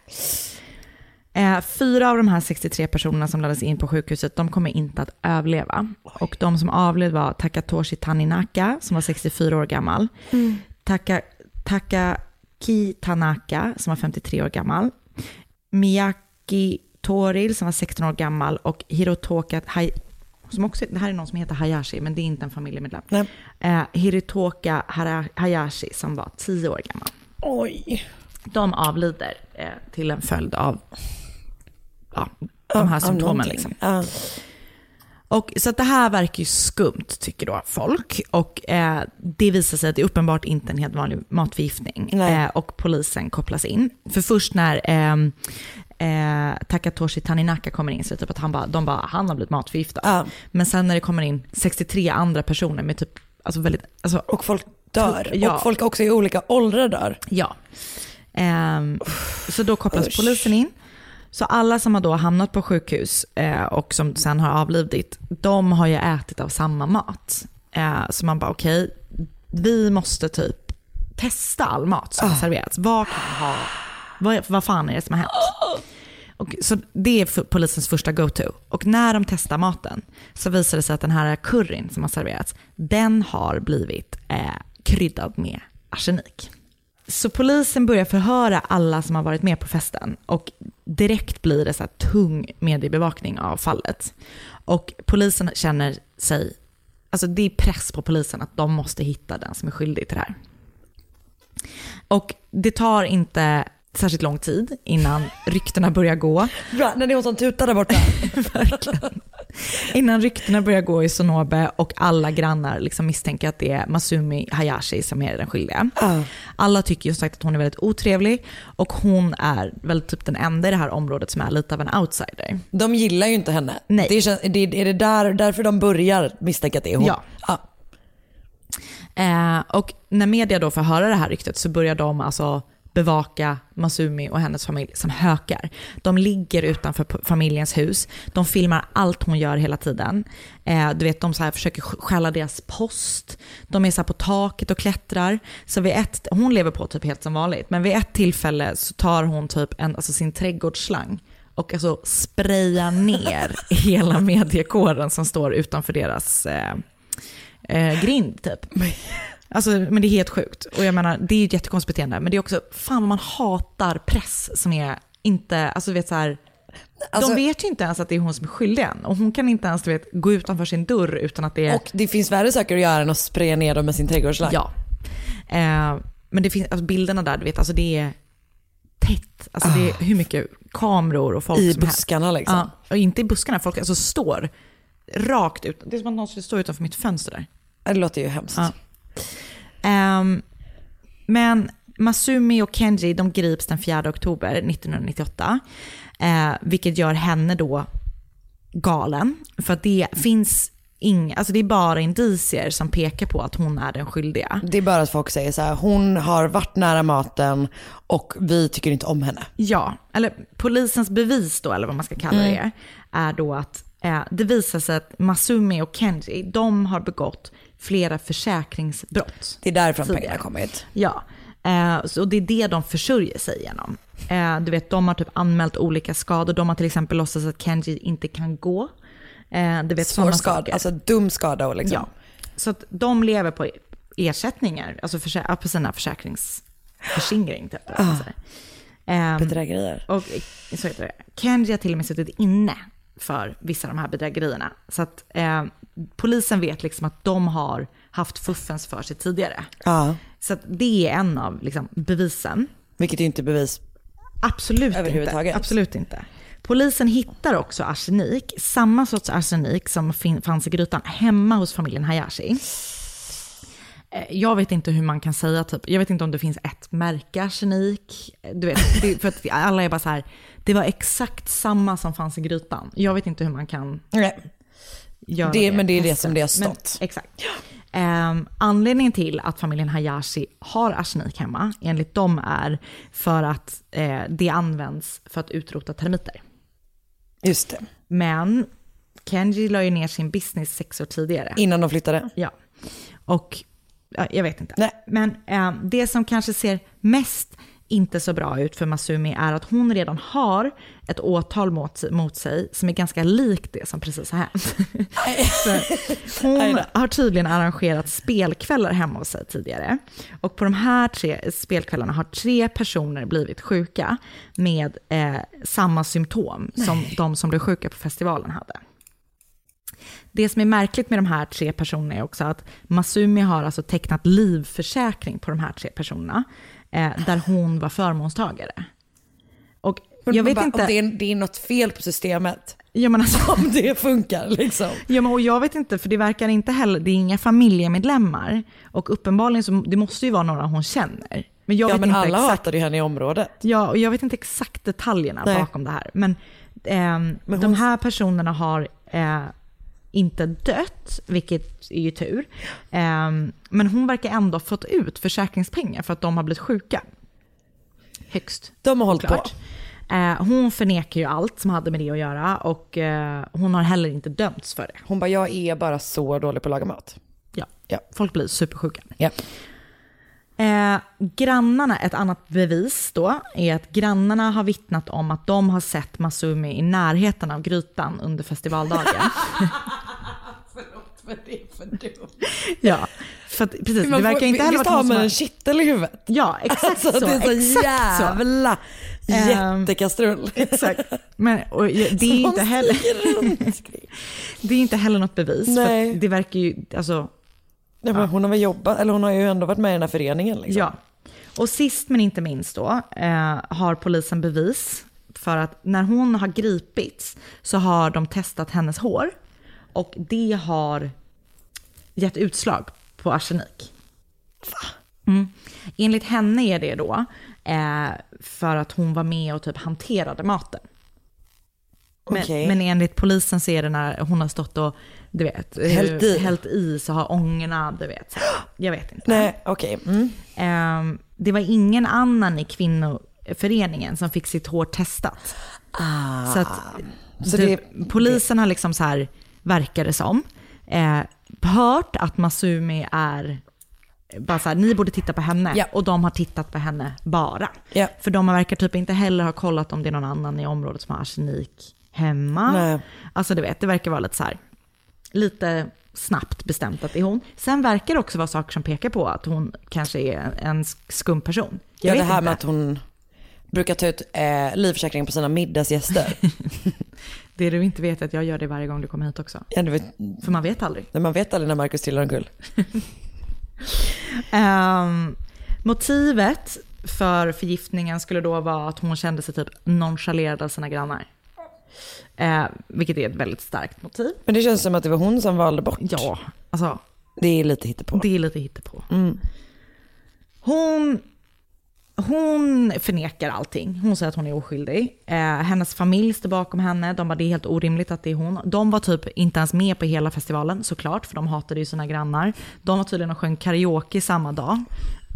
[SPEAKER 4] Eh, fyra av de här 63 personerna som laddades in på sjukhuset, de kommer inte att överleva. Och de som avled var Takatoshi Taninaka, som var 64 år gammal.
[SPEAKER 5] Mm.
[SPEAKER 4] Taka, Takaki Tanaka, som var 53 år gammal. Miyaki Toril, som var 16 år gammal. Och Hirotoka Hay- som också, det här är någon som heter Hayashi, men det är inte en familjemedlem. Eh, Hirotoka Hara- Hayashi, som var 10 år gammal.
[SPEAKER 5] Oj.
[SPEAKER 4] De avlider eh, till en följd av ja, de här
[SPEAKER 5] Av
[SPEAKER 4] symptomen.
[SPEAKER 5] någonting.
[SPEAKER 4] Liksom.
[SPEAKER 5] Ja.
[SPEAKER 4] Och, så att det här verkar ju skumt tycker då folk. Och eh, det visar sig att det är uppenbart inte en helt vanlig matförgiftning. Eh, och polisen kopplas in. För först när ehm, eh, Takatoshi Taninaka kommer in så är det typ att han bara, de bara, han har blivit matförgiftad. Men sen när det kommer in 63 andra personer med typ, alltså väldigt, alltså,
[SPEAKER 5] och folk dör. Och folk också i olika åldrar dör.
[SPEAKER 4] Ja. Ehm, så då kopplas polisen in. Så alla som har då hamnat på sjukhus eh, och som sen har avlidit, de har ju ätit av samma mat. Eh, så man bara okej, vi måste typ testa all mat som har serverats. Vad, kan ha, vad, vad fan är det som har hänt? Och, så det är för, polisens första go-to. Och när de testar maten så visar det sig att den här curryn som har serverats, den har blivit eh, kryddad med arsenik. Så polisen börjar förhöra alla som har varit med på festen och direkt blir det så här tung mediebevakning av fallet. Och polisen känner sig, alltså det är press på polisen att de måste hitta den som är skyldig till det här. Och det tar inte särskilt lång tid innan ryktena börjar gå.
[SPEAKER 5] Bra, när det är hon som tutar där borta.
[SPEAKER 4] Verkligen. Innan ryktena börjar gå i Sonobe och alla grannar liksom misstänker att det är Masumi Hayashi som är den skyldiga. Alla tycker ju som sagt att hon är väldigt otrevlig och hon är väl typ den enda i det här området som är lite av en outsider.
[SPEAKER 11] De gillar ju inte henne. Nej. Det känns, det, är det där, därför de börjar misstänka att det är hon?
[SPEAKER 4] Ja. Eh, och när media då får höra det här ryktet så börjar de alltså bevaka Masumi och hennes familj som hökar. De ligger utanför p- familjens hus, de filmar allt hon gör hela tiden. Eh, du vet, de så här försöker sk- stjäla deras post, de är så här på taket och klättrar. Så vid ett, hon lever på typ helt som vanligt, men vid ett tillfälle så tar hon typ en, alltså sin trädgårdsslang och alltså sprayar ner hela mediekåren som står utanför deras eh, eh, grind typ. Alltså, men det är helt sjukt. Och jag menar, det är ju ett jättekonstigt beteende. Men det är också, fan vad man hatar press som är inte, alltså du vet så här,
[SPEAKER 11] Alltså-
[SPEAKER 4] de vet ju inte ens att det är hon som är skyldig än. Och hon kan inte ens du vet, gå utanför sin dörr utan att det är...
[SPEAKER 11] Och det finns värre saker att göra än att spraya ner dem med sin trädgårdsslang.
[SPEAKER 4] Ja. Eh, men det finns, alltså, bilderna där, du vet, alltså det är tätt. Alltså det är hur mycket kameror och folk
[SPEAKER 11] Ah. I
[SPEAKER 4] som helst.
[SPEAKER 11] buskarna liksom.
[SPEAKER 4] Ja, och inte i buskarna, folk alltså står rakt ut. Det är som att någon skulle stå utanför mitt fönster där.
[SPEAKER 11] Det låter ju hemskt.
[SPEAKER 4] Ehm, men Masumi och Kenji de grips den 4 oktober 1998, eh, vilket gör henne då galen. För att det finns ing, alltså det är bara indicier som pekar på att hon är den skyldiga.
[SPEAKER 11] Det är bara att folk säger så här, hon har varit nära maten och vi tycker inte om henne.
[SPEAKER 4] Ja, eller polisens bevis då, eller vad man ska kalla
[SPEAKER 11] Mm.
[SPEAKER 4] det, är då att eh, det visar sig att Masumi och Kenji, de har begått flera försäkringsbrott.
[SPEAKER 11] Det är därifrån
[SPEAKER 4] Tidigare.
[SPEAKER 11] pengarna kommit.
[SPEAKER 4] Ja, eh, så och det är det de försörjer sig genom. Eh, du vet, de har typ anmält olika skador. De har till exempel låtsats att Kenji inte kan gå. Eh, du vet,
[SPEAKER 11] Svår
[SPEAKER 4] sådana
[SPEAKER 11] skada,
[SPEAKER 4] saker.
[SPEAKER 11] alltså dum skada och liksom.
[SPEAKER 4] Ja. Så att de lever på ersättningar, alltså försä- på sina försäkringsförskingring. Typ, eller vad man säger. Ehm,
[SPEAKER 11] Ah. Bedrägerier.
[SPEAKER 4] Och, eh, så heter det. Kenji har till och med suttit inne för vissa av de här bedrägerierna. Så att eh, polisen vet liksom att de har haft fuffens för sig tidigare.
[SPEAKER 11] Ja.
[SPEAKER 4] Så att det är en av liksom, bevisen.
[SPEAKER 11] Vilket är ju inte bevis.
[SPEAKER 4] Absolut inte.
[SPEAKER 11] Överhuvudtaget.
[SPEAKER 4] Absolut inte. Polisen hittar också arsenik, samma sorts arsenik som fin- fanns i grytan, hemma hos familjen Hayashi. Eh, Jag vet inte hur man kan säga, typ, jag vet inte om det finns ett märke arsenik. Eh, Du vet, det, för att alla är bara så här, det var exakt samma som fanns i grytan. Jag vet inte hur man kan göra
[SPEAKER 11] Det- men det är det
[SPEAKER 4] testet.
[SPEAKER 11] som det har
[SPEAKER 4] Men-
[SPEAKER 11] stått.
[SPEAKER 4] exakt. Ehm, anledningen till att familjen Hayashi har arsenik hemma, enligt dem, är för att eh, det används för att utrota termiter.
[SPEAKER 11] Just det.
[SPEAKER 4] Men Kenji la ju ner sin business sex år tidigare.
[SPEAKER 11] Innan de flyttade.
[SPEAKER 4] Ja. Och ja, jag vet inte. Men eh, det som kanske ser mest inte så bra ut för Masumi är att hon redan har ett åtal mot, mot sig som är ganska likt det som precis har hänt. Så hon har tydligen arrangerat spelkvällar hemma hos sig tidigare. Och på de här tre spelkvällarna har tre personer blivit sjuka med eh, samma symptom som de som blev sjuka på festivalen hade. Det som är märkligt med de här tre personerna är också att Masumi har alltså tecknat livförsäkring på de här tre personerna, eh, där hon var förmånstagare. Och jag
[SPEAKER 11] Man
[SPEAKER 4] vet
[SPEAKER 11] bara,
[SPEAKER 4] inte...
[SPEAKER 11] Det är, det är något fel på systemet.
[SPEAKER 4] Ja, men alltså,
[SPEAKER 11] om det funkar liksom.
[SPEAKER 4] Ja, men och jag vet inte, för det verkar inte heller, det är inga familjemedlemmar. Och uppenbarligen så det måste ju vara några hon känner. Men jag
[SPEAKER 11] ja
[SPEAKER 4] vet
[SPEAKER 11] men
[SPEAKER 4] inte
[SPEAKER 11] alla
[SPEAKER 4] exakt,
[SPEAKER 11] hatade ju henne i området.
[SPEAKER 4] ja, och jag vet inte exakt detaljerna
[SPEAKER 11] Nej.
[SPEAKER 4] bakom det här. Men, ehm, de här personerna har eh, inte dött, vilket är ju tur. Ehm, men hon verkar ändå ha fått ut försäkringspengar för att de har blivit sjuka. Högst.
[SPEAKER 11] De har hållit
[SPEAKER 4] på. Eh, hon förnekar ju allt som hade med det att göra och eh, hon har heller inte dömts för det.
[SPEAKER 11] Hon bara, jag är bara så dålig på att laga mat.
[SPEAKER 4] Ja, folk blir supersjuka.
[SPEAKER 11] Ja.
[SPEAKER 4] Eh, grannarna, ett annat bevis då, är att grannarna har vittnat om att de har sett Masumi i närheten av grytan under festivaldagen.
[SPEAKER 11] Förlåt men det är för dumt.
[SPEAKER 4] ja, för att, precis, det
[SPEAKER 11] Man får-
[SPEAKER 4] verkar inte heller
[SPEAKER 11] visst
[SPEAKER 4] varit
[SPEAKER 11] har
[SPEAKER 4] någon som
[SPEAKER 11] man
[SPEAKER 4] har-
[SPEAKER 11] en kittel i huvudet?
[SPEAKER 4] Ja, exakt
[SPEAKER 11] alltså,
[SPEAKER 4] så.
[SPEAKER 11] Det är så
[SPEAKER 4] exakt
[SPEAKER 11] jävla
[SPEAKER 4] så. Ehm.
[SPEAKER 11] jättekastrull.
[SPEAKER 4] Exakt. Men, och, ja, det, är
[SPEAKER 11] Som
[SPEAKER 4] inte heller, det är inte heller något bevis. För
[SPEAKER 11] Nej.
[SPEAKER 4] att det verkar ju, alltså,
[SPEAKER 11] Nej, men hon har väl jobbat, eller hon har ju ändå varit med i den här föreningen. Liksom.
[SPEAKER 4] Ja. Och sist men inte minst då, eh, har polisen bevis för att när hon har gripits så har de testat hennes hår och det har gett utslag på arsenik. Mm. Enligt henne är det då eh, för att hon var med och typ hanterade maten. Men,
[SPEAKER 12] Okej.
[SPEAKER 4] men enligt polisen så är det när hon har stått och du vet, eh,
[SPEAKER 5] Hällt i.
[SPEAKER 4] hällt i så har ångorna, du vet. så här. Jag vet inte.
[SPEAKER 5] Nej, okej. Mm.
[SPEAKER 4] Ehm, det var ingen annan i kvinnoföreningen som fick sitt hår testat.
[SPEAKER 5] Ah.
[SPEAKER 4] Så, att,
[SPEAKER 5] Så
[SPEAKER 4] det,
[SPEAKER 5] det-
[SPEAKER 4] polisen har liksom så här, verkar det som, eh, hört att Masumi är bara så här, ni borde titta på henne.
[SPEAKER 5] Ja.
[SPEAKER 4] Och de har tittat på henne bara. För de verkar typ inte heller ha kollat om det är någon annan i området som har arsenik hemma.
[SPEAKER 5] Nej.
[SPEAKER 4] Alltså du vet, det verkar vara lite så här, lite snabbt bestämt att det är hon. Sen verkar det också vara saker som pekar på att hon kanske är en skum person. Jag
[SPEAKER 5] Ja, det
[SPEAKER 4] vet
[SPEAKER 5] här
[SPEAKER 4] inte.
[SPEAKER 5] med att hon brukar ta ut eh, livförsäkring på sina middagsgäster.
[SPEAKER 4] det du inte vet är att jag gör det varje gång du kommer hit också.
[SPEAKER 5] Ja, du vet,
[SPEAKER 4] För man vet aldrig.
[SPEAKER 5] man vet aldrig när Marcus trillar omkull.
[SPEAKER 4] Ehm, motivet för förgiftningen skulle då vara att hon kände sig typ nonchalerad av sina grannar. Eh, vilket är ett väldigt starkt motiv.
[SPEAKER 5] Men det känns som att det var hon som valde bort.
[SPEAKER 4] Ja, alltså.
[SPEAKER 5] Det är lite hittepå.
[SPEAKER 4] Det är lite hittepå.
[SPEAKER 5] Mm.
[SPEAKER 4] Hon, hon förnekar allting. Hon säger att hon är oskyldig. Eh, hennes familj står bakom henne. De bara, det är helt orimligt att det är hon. De var typ inte ens med på hela festivalen såklart, för de hatade ju sina grannar. De var tydligen och sjöng karaoke samma dag.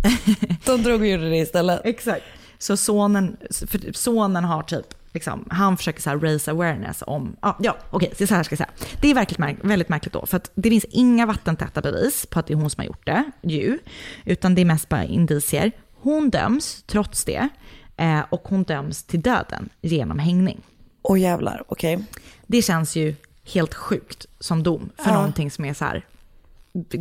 [SPEAKER 5] de drog och gjorde det istället.
[SPEAKER 4] Exakt. Så sonen, för sonen har typ, liksom, han försöker så här raise awareness om, ja, ja okej, så här ska jag säga. Det är verkligen märk- väldigt märkligt då, för att det finns inga vattentäta bevis på att det är hon som har gjort det, ju, utan det är mest bara indicier. Hon döms trots det, eh, och hon döms till döden genom hängning.
[SPEAKER 5] Åh jävlar, okej.
[SPEAKER 4] Det känns ju helt sjukt som dom för
[SPEAKER 5] Ja.
[SPEAKER 4] någonting som är så här,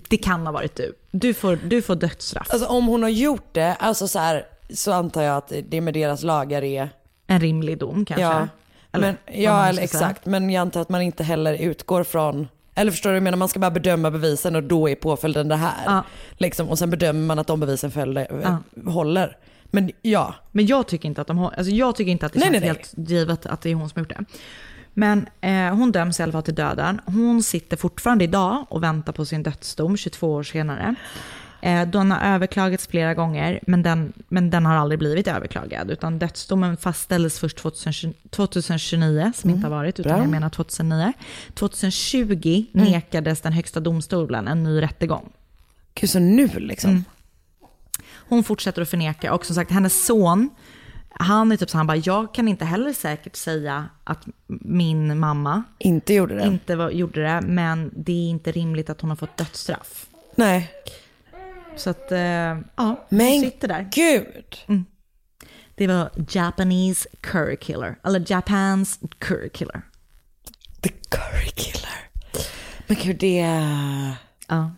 [SPEAKER 4] det kan ha varit du. Du får, du får dödsstraff.
[SPEAKER 5] Alltså om hon har gjort det, alltså så här, så antar jag att det med deras lagar är...
[SPEAKER 4] En rimlig dom kanske?
[SPEAKER 5] Ja,
[SPEAKER 4] Eller
[SPEAKER 5] men,
[SPEAKER 4] vad man
[SPEAKER 5] ja
[SPEAKER 4] ska
[SPEAKER 5] eller
[SPEAKER 4] säga.
[SPEAKER 5] exakt. Men jag antar att man inte heller utgår från... Eller förstår du, jag menar man ska bara bedöma bevisen och då är påföljden det här. Liksom, och sen bedömer man att de bevisen följer, håller. Men ja.
[SPEAKER 4] Men jag tycker inte att, de har, alltså jag tycker inte att det
[SPEAKER 5] Nej,
[SPEAKER 4] känns
[SPEAKER 5] nej, nej.
[SPEAKER 4] helt givet att det är hon som har gjort det. Men eh, hon döms i alla fall till döden. Hon sitter fortfarande idag och väntar på sin dödsdom 22 år senare. Eh, den har överklagats flera gånger, men den, men den har aldrig blivit överklagad. Utan dödsdomen fastställdes först 2020, 2029, som inte har varit, utan
[SPEAKER 5] Mm, bra. Mm.
[SPEAKER 4] jag menar 2009. 2020 nekades den högsta domstolen en ny rättegång.
[SPEAKER 5] Gud, så nu liksom?
[SPEAKER 4] Mm. Hon fortsätter att förneka och som sagt hennes son, han är typ så här, han bara, jag kan inte heller säkert säga att min mamma
[SPEAKER 5] inte gjorde det,
[SPEAKER 4] inte var, gjorde det men det är inte rimligt att hon har fått dödsstraff.
[SPEAKER 5] Nej.
[SPEAKER 4] Så att, eh, ja, hon
[SPEAKER 5] Men
[SPEAKER 4] sitter där.
[SPEAKER 5] gud!
[SPEAKER 4] Mm. Det var Japanese curry killer, eller Japans curry killer.
[SPEAKER 5] Curry killer. Men gud det...
[SPEAKER 4] Ja.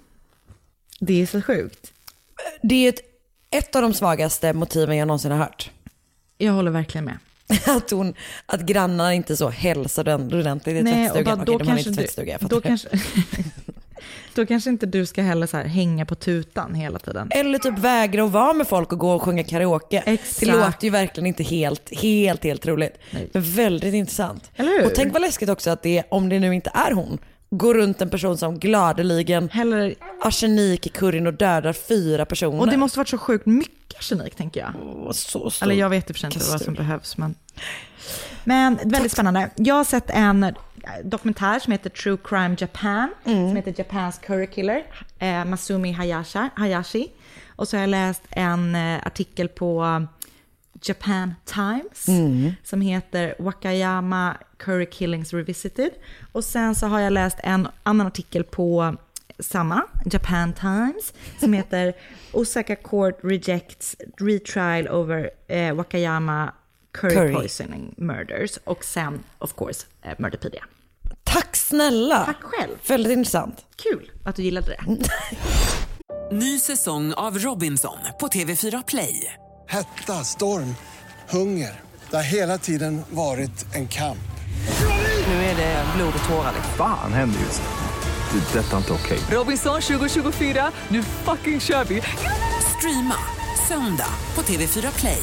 [SPEAKER 4] Det är så sjukt.
[SPEAKER 5] Det är ett, ett av de svagaste motiven jag någonsin har hört.
[SPEAKER 4] Jag håller verkligen med.
[SPEAKER 5] Att, hon, att grannarna inte så hälsade ordentligt i
[SPEAKER 4] Nej, och
[SPEAKER 5] tvättstugan.
[SPEAKER 4] bara,
[SPEAKER 5] Okej,
[SPEAKER 4] då
[SPEAKER 5] de hade
[SPEAKER 4] kanske
[SPEAKER 5] inte
[SPEAKER 4] du-
[SPEAKER 5] tvättstuga, jag fattar
[SPEAKER 4] då
[SPEAKER 5] det.
[SPEAKER 4] kanske- Då kanske inte du ska heller så här hänga på tutan hela tiden.
[SPEAKER 5] Eller typ vägra att vara med folk och gå och sjunga karaoke. Det låter ju verkligen inte helt, helt, helt roligt. Men väldigt intressant.
[SPEAKER 4] Eller hur?
[SPEAKER 5] Och tänk vad läskigt också att det, är- om det nu inte är hon, går runt en person som gladeligen
[SPEAKER 4] häller
[SPEAKER 5] arsenik i curryn och dödar fyra personer.
[SPEAKER 4] Och det måste varit så sjukt mycket arsenik tänker jag.
[SPEAKER 5] så stor
[SPEAKER 4] Eller jag vet i och för sig inte vad
[SPEAKER 5] kastrull.
[SPEAKER 4] som behövs. Men, men väldigt spännande. Jag har sett en eh, dokumentär som heter True Crime Japan.
[SPEAKER 5] Mm.
[SPEAKER 4] Som heter Japans Curry Killer. Eh, Masumi Hayashi, Hayashi. Och så har jag läst en eh, artikel på Japan Times.
[SPEAKER 5] Mm.
[SPEAKER 4] Som heter Wakayama Curry Killings Revisited. Och sen så har jag läst en annan artikel på samma, Japan Times, som heter Osaka Court Rejects Retrial Over eh, Wakayama Curry,
[SPEAKER 5] Curry.
[SPEAKER 4] Poisoning Murders. Och sen, of course, eh, Murderpedia.
[SPEAKER 5] Tack snälla!
[SPEAKER 6] Tack
[SPEAKER 4] själv.
[SPEAKER 5] Väldigt intressant.
[SPEAKER 4] Kul att du gillade det.
[SPEAKER 6] Ny säsong av Robinson på TV4 Play.
[SPEAKER 7] Hetta, storm, hunger. Det har hela tiden varit en kamp.
[SPEAKER 6] Nu är det blod och tårar. liksom.
[SPEAKER 8] Fan händer just det. Det är detta inte okej.
[SPEAKER 6] Robinson 2024, nu fucking kör vi! Streama söndag på TV4 Play.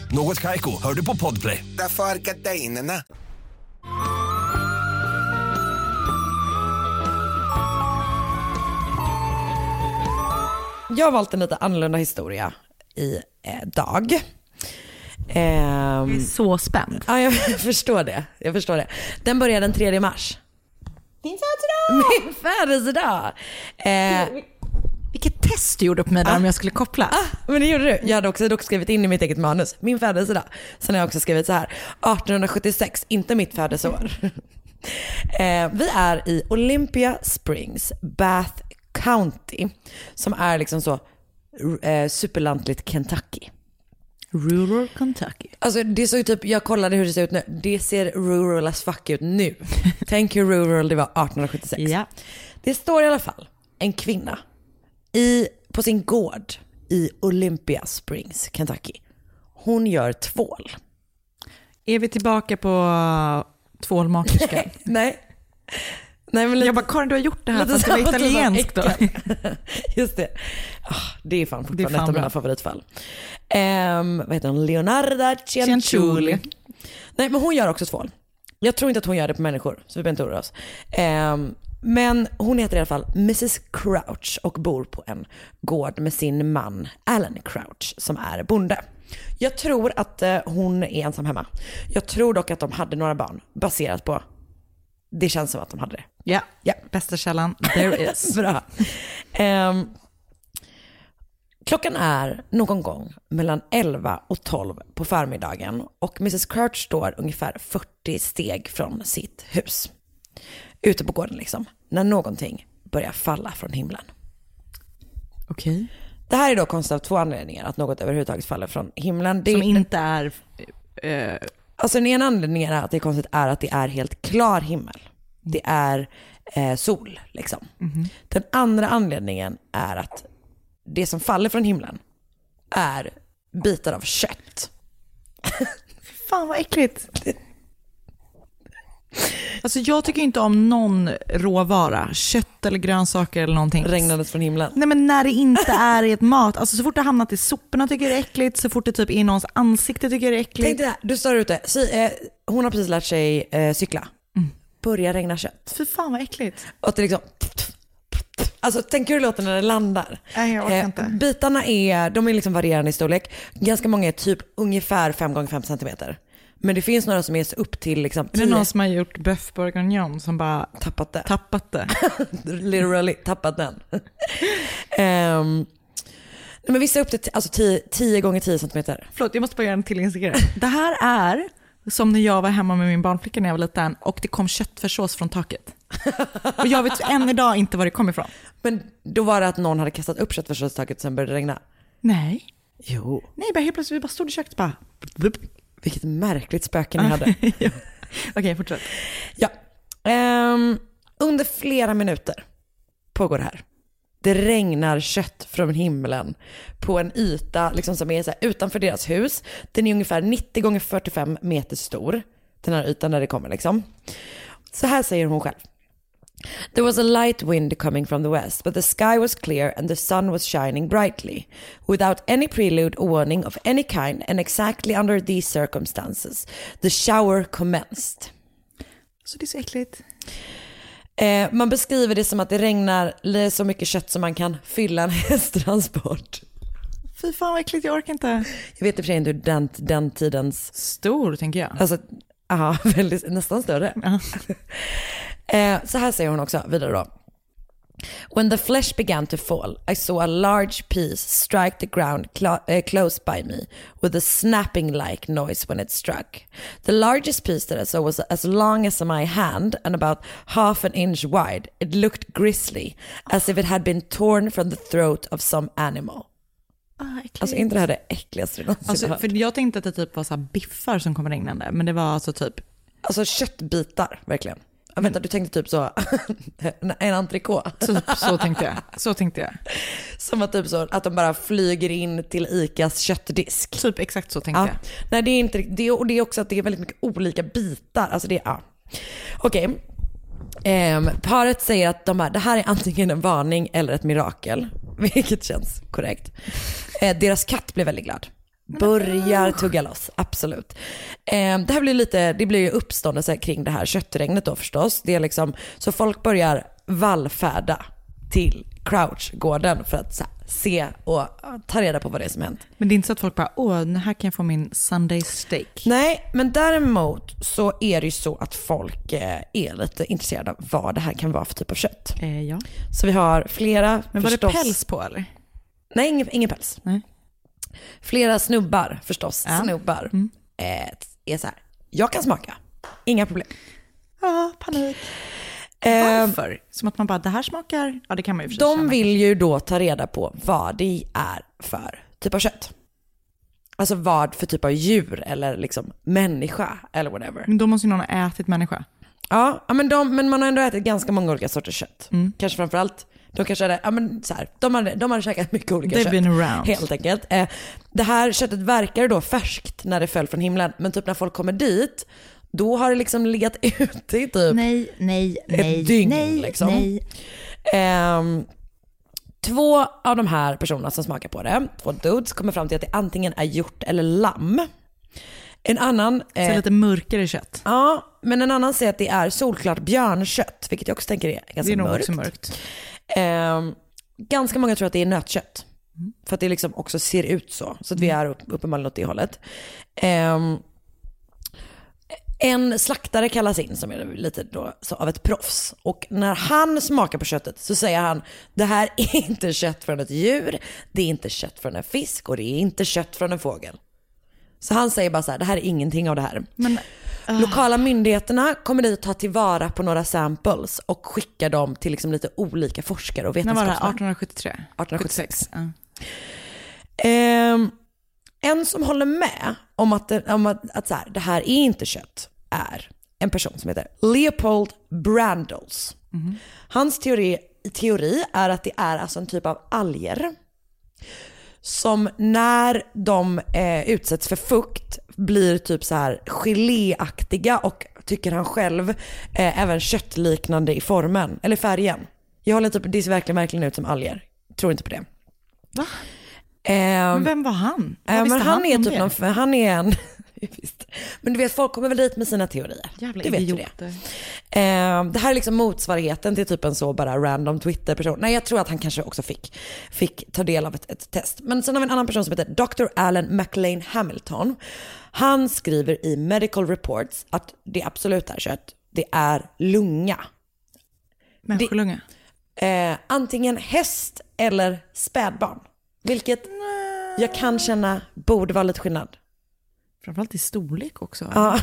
[SPEAKER 9] Något Kaiko, hör du på Podplay.
[SPEAKER 7] Därför är gardinerna.
[SPEAKER 5] Jag har valt en lite annorlunda historia i eh, dag. Ehm,
[SPEAKER 4] Jag är så spänd.
[SPEAKER 5] Ja, jag förstår det. Jag förstår det. Den börjar den 3 mars.
[SPEAKER 4] Din
[SPEAKER 5] Min födelsedag! Eh,
[SPEAKER 4] Vilket test du gjorde på mig där om jag skulle koppla.
[SPEAKER 5] ah, men det gjorde du. Jag hade också dock skrivit in i mitt eget manus, min födelsedag. Sen har jag också skrivit så här, 1876, inte mitt födelseår. eh, vi är i Olympia Springs, Bath County, som är liksom så eh, superlantligt Kentucky.
[SPEAKER 4] Rural Kentucky.
[SPEAKER 5] Alltså det såg typ, jag kollade hur det ser ut nu, det ser rural as fuck ut nu. Tänk hur rural det var 1876. Det står i alla fall en kvinna i, på sin gård i Olympia Springs, Kentucky. Hon gör tvål.
[SPEAKER 4] Är vi tillbaka på tvålmakerskan?
[SPEAKER 5] Nej. Nej, men lite,
[SPEAKER 4] jag bara, Karin du har gjort det här
[SPEAKER 5] lite
[SPEAKER 4] fast det var
[SPEAKER 5] så- lite så
[SPEAKER 4] italienskt då.
[SPEAKER 5] äckel. Just det. Ah, det är fan fortfarande
[SPEAKER 4] fan
[SPEAKER 5] ett av
[SPEAKER 4] bra.
[SPEAKER 5] mina favoritfall. Ehm, vad heter hon? Leonarda
[SPEAKER 4] Cianciulli.
[SPEAKER 5] Cianciulli. Nej men hon gör också tvål. Jag tror inte att hon gör det på människor, så vi behöver inte oroa oss. Ehm, men hon heter i alla fall Mrs Crouch och bor på en gård med sin man Alan Crouch som är bonde. Jag tror att eh, hon är ensam hemma. Jag tror dock att de hade några barn baserat på, det känns som att de hade det.
[SPEAKER 4] Ja, bästa källan there is.
[SPEAKER 5] Bra. Ehm, klockan är någon gång mellan 11 och 12 på förmiddagen och Mrs Crouch står ungefär 40 steg från sitt hus. Ute på gården liksom. När någonting börjar falla från himlen.
[SPEAKER 4] Okej.
[SPEAKER 5] Det här är då konstigt av två anledningar, att något överhuvudtaget faller från himlen. Det
[SPEAKER 4] Som inte är...
[SPEAKER 5] Alltså den ena anledningen är att det är konstigt är att det är helt klar himmel. Det är eh, sol liksom. Den andra anledningen är att det som faller från himlen är bitar av kött.
[SPEAKER 4] Fan vad äckligt. Alltså jag tycker inte om någon råvara, kött eller grönsaker eller någonting.
[SPEAKER 5] Regnandes från himlen.
[SPEAKER 4] Nej men när det inte är i ett mat, alltså så fort det har hamnat i soporna tycker jag det är äckligt, så fort det typ är i någons ansikte tycker jag det är äckligt.
[SPEAKER 5] Tänk dig det här, du står där ute, si, eh, hon har precis lärt sig eh, cykla. Börjar regna kött.
[SPEAKER 4] Fy fan vad äckligt.
[SPEAKER 5] Och att det liksom... Alltså tänk hur det låter när det landar.
[SPEAKER 4] Nej jag orkar
[SPEAKER 5] Eh,
[SPEAKER 4] inte.
[SPEAKER 5] bitarna är, de är liksom varierande i storlek. Ganska många är typ ungefär 5x5 cm. Men det finns några som är så upp till liksom
[SPEAKER 4] Är det
[SPEAKER 5] 10
[SPEAKER 4] någon som har gjort bœuf bourguignon som bara
[SPEAKER 5] tappat det.
[SPEAKER 4] tappat det?
[SPEAKER 5] Literally tappat den. Ehm, nej, men vissa är upp till t- alltså 10 10 gånger 10 cm.
[SPEAKER 4] Förlåt, jag måste bara göra en till Instagram. Det här är som när jag var hemma med min barnflicka när jag var liten och det kom köttfärssås från taket. Och jag vet än idag inte var det kom ifrån.
[SPEAKER 5] Men då var det att någon hade kastat upp köttfärssåstaket och sen började det regna.
[SPEAKER 4] Nej.
[SPEAKER 5] Jo.
[SPEAKER 4] Nej, bara helt plötsligt vi bara stod i köket och bara... "Ah."
[SPEAKER 5] Vilket märkligt spöke ni hade.
[SPEAKER 4] Ja. Okej, fortsätt.
[SPEAKER 5] Ja. Ehm, under flera minuter pågår det här. Det regnar kött från himlen på en yta liksom som är så här, utanför deras hus. Den är ungefär 90 gånger 45 meter stor, den här ytan där det kommer liksom. Så här säger hon själv. There was a light wind coming from the west, but the sky was clear and the sun was shining brightly, without any prelude or warning of any kind, and exactly under these circumstances, the shower commenced.
[SPEAKER 4] Så det är så äckligt.
[SPEAKER 5] Eh, man beskriver det som att det regnar li- så mycket kött som man kan fylla en hästtransport.
[SPEAKER 4] Fy fan vad äckligt, jag orkar inte.
[SPEAKER 5] Jag vet i och för sig inte hur den, den tidens...
[SPEAKER 4] Stor tänker jag.
[SPEAKER 5] Alltså, aha, väldigt, nästan större. eh, så här säger hon också vidare då. When the flesh began to fall I saw a large piece strike the ground clo- eh, close by me with a snapping like noise when it struck. The largest piece that I saw was as long as my hand and about half an inch wide. It looked grisly as if it had been torn from the throat of some animal.
[SPEAKER 4] Ah, äckligt.
[SPEAKER 5] Alltså inte det här det äckligaste du någonsin har
[SPEAKER 4] Alltså,
[SPEAKER 5] hört.
[SPEAKER 4] för jag tänkte att det typ var så här biffar som kom regnande, men det var alltså typ
[SPEAKER 5] alltså köttbitar verkligen. Ja, vänta, du tänkte typ så, en- en entrecote.
[SPEAKER 4] Så- så tänkte jag. Så tänkte jag.
[SPEAKER 5] Som att, typ så, att de bara flyger in till ICAs köttdisk.
[SPEAKER 4] Typ exakt så tänkte jag.
[SPEAKER 5] Nej, det är inte riktigt- det, är- och det är också att det är väldigt mycket olika bitar. Alltså det är, ja. Okej. Ehm, paret säger att de här, det här är antingen en varning eller ett mirakel. Vilket känns korrekt. Eh, deras katt blir väldigt glad.
[SPEAKER 4] Mm.
[SPEAKER 5] Börjar tugga loss, absolut. Ehm, det här blir lite, det blir ju uppståndelse kring det här köttregnet då förstås. Det är liksom, så folk börjar vallfärda till Crouchgården för att så här, se och ta reda på vad det är som hänt.
[SPEAKER 4] Men det är inte så att folk bara, åh, den här kan jag få min Sunday steak.
[SPEAKER 5] Nej, men däremot så är det ju så att folk eh, är lite intresserade av vad det här kan vara för typ av kött.
[SPEAKER 4] Eh, ja.
[SPEAKER 5] Så vi har flera
[SPEAKER 4] Men var det
[SPEAKER 5] förstås-
[SPEAKER 4] päls på eller?
[SPEAKER 5] Nej, ingen, ingen päls. Flera snubbar förstås, snubbar,
[SPEAKER 4] Mm.
[SPEAKER 5] eh, är så här, jag kan smaka, inga problem. Eh,
[SPEAKER 4] Ja, panik. Varför? Som att man bara, det här smakar... Ja, det kan man ju förstås.
[SPEAKER 5] De vill ju då ta reda på vad det är för typ av kött. Alltså vad för typ av djur eller liksom människa eller whatever.
[SPEAKER 4] Men då måste ju någon ha ätit människa.
[SPEAKER 5] Ja, ja, men, de, men man har ändå ätit ganska många olika sorters kött.
[SPEAKER 4] Mm.
[SPEAKER 5] Kanske framförallt, de kanske hade, ja, men så här, de hade, de hade käkat mycket olika
[SPEAKER 4] They've
[SPEAKER 5] kött.
[SPEAKER 4] been around.
[SPEAKER 5] Helt enkelt. Eh, det här köttet verkar ju då färskt när det föll från himlen, men typ när folk kommer dit, då har det liksom legat ute i typ
[SPEAKER 4] nej, nej,
[SPEAKER 5] ett
[SPEAKER 4] nej,
[SPEAKER 5] dygn.
[SPEAKER 4] nej,
[SPEAKER 5] liksom.
[SPEAKER 4] nej.
[SPEAKER 5] Ehm, två av de här personerna som smakar på det, två dudes, kommer fram till att det antingen är hjort eller lamm. En annan... eh,
[SPEAKER 4] Så lite mörkare kött.
[SPEAKER 5] Ja, men en annan säger att det är solklart björnkött, vilket jag också tänker är ganska
[SPEAKER 4] Det är nog
[SPEAKER 5] mörkt.
[SPEAKER 4] också alltså mörkt.
[SPEAKER 5] Ehm, ganska många tror att det är nötkött.
[SPEAKER 4] Mm.
[SPEAKER 5] För att det liksom också ser ut så. Så att vi är upp, uppenbarligen åt det hållet. Ehm, en slaktare kallas in som är lite då, så av ett proffs. Och när han smakar på köttet så säger han det här är inte kött från ett djur, det är inte kött från en fisk och det är inte kött från en fågel. Så han säger bara så här, det här är ingenting av det här.
[SPEAKER 4] ah.
[SPEAKER 5] Lokala myndigheterna kommer dit ta tillvara på några samples och skicka dem till liksom lite olika forskare och
[SPEAKER 4] När var
[SPEAKER 5] vetenskapsmän.
[SPEAKER 4] det? 1873?
[SPEAKER 5] 1876. Ehm, en som håller med om att, det- om att, att så här, det här är inte kött är en person som heter Leopold Brandles. Hans teori, teori är att det är alltså en typ av alger som när de eh, utsätts för fukt blir typ så här geléaktiga och tycker han själv eh, även köttliknande i formen, eller färgen. Jag håller typ, det ser verkligen, verkligen ut som alger. Tror inte på det. Ehm,
[SPEAKER 4] Va?
[SPEAKER 5] men
[SPEAKER 4] vem var han?
[SPEAKER 5] Eh,
[SPEAKER 4] Vad
[SPEAKER 5] men
[SPEAKER 4] visste
[SPEAKER 5] han,
[SPEAKER 4] han
[SPEAKER 5] är
[SPEAKER 4] om
[SPEAKER 5] typ
[SPEAKER 4] det?
[SPEAKER 5] någon, för han är en... Visst. Men du vet, folk kommer väl dit med sina teorier.
[SPEAKER 4] Jävla
[SPEAKER 5] du vet ju det.
[SPEAKER 4] idioter.
[SPEAKER 5] Eh, det här är liksom motsvarigheten till typ en så bara random Twitter-person. Nej, jag tror att han kanske också fick, fick ta del av ett, ett test. Men sen har vi en annan person som heter Dr. Alan McLean Hamilton. Han skriver i Medical Reports att det absolut är kött. Det är lunga.
[SPEAKER 4] Människolunga?
[SPEAKER 5] Eh, antingen häst eller spädbarn. Vilket jag kan känna borde vara lite skillnad.
[SPEAKER 4] Framförallt i storlek också.
[SPEAKER 5] Ja,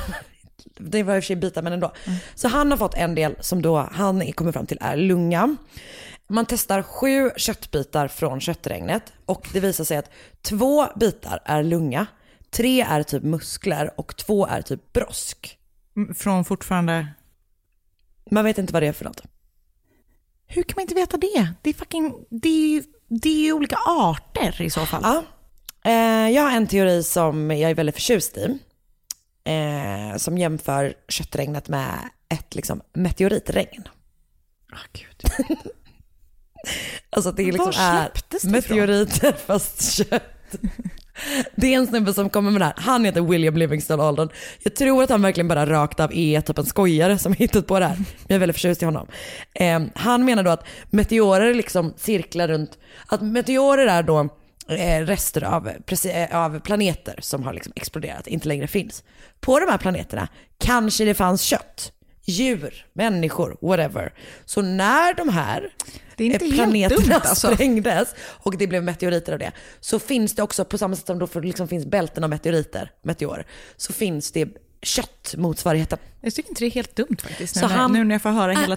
[SPEAKER 5] det var i och för sig bitar men ändå.
[SPEAKER 4] Mm.
[SPEAKER 5] Så han har fått en del som då han kommer fram till är lunga. Man testar sju köttbitar från köttregnet och det visar sig att två bitar är lunga, tre är typ muskler och två är typ brosk.
[SPEAKER 4] Mm, Från fortfarande...
[SPEAKER 5] Man vet inte vad det är för något.
[SPEAKER 4] Hur kan man inte veta det? Det är fucking... Det är ju, det är ju olika arter i så fall.
[SPEAKER 5] Ja. Eh, jag har en teori som jag är väldigt förtjust i. Eh, som jämför köttregnet med ett liksom, meteoritregn.
[SPEAKER 4] Ah,
[SPEAKER 5] Alltså att det
[SPEAKER 4] Var
[SPEAKER 5] liksom är
[SPEAKER 4] släpptes det ifrån?
[SPEAKER 5] meteoriter fast kött. Det är en snubbe som kommer med det här. Han heter William Livingston Alden. Jag tror att han verkligen bara rakt av är typ en skojare som har hittat på det här. Men jag är väldigt förtjust i honom. Eh, han menar då att meteorer liksom cirklar runt, att meteorer är då eh, rester av, preci- eh, av planeter som har liksom exploderat, inte längre finns. På de här planeterna kanske det fanns kött, djur, människor, whatever. Så när de här
[SPEAKER 4] Det är inte
[SPEAKER 5] eh,
[SPEAKER 4] helt
[SPEAKER 5] planeterna
[SPEAKER 4] dumt, alltså.
[SPEAKER 5] sprängdes och det blev meteoriter av det, så finns det också, på samma sätt som då för- liksom finns bälten av meteoriter, meteorer, så finns det köttmotsvarigheten.
[SPEAKER 4] Jag tycker inte det är helt dumt faktiskt. Nu,
[SPEAKER 5] Så
[SPEAKER 4] när,
[SPEAKER 5] han-
[SPEAKER 4] nu när jag får höra hela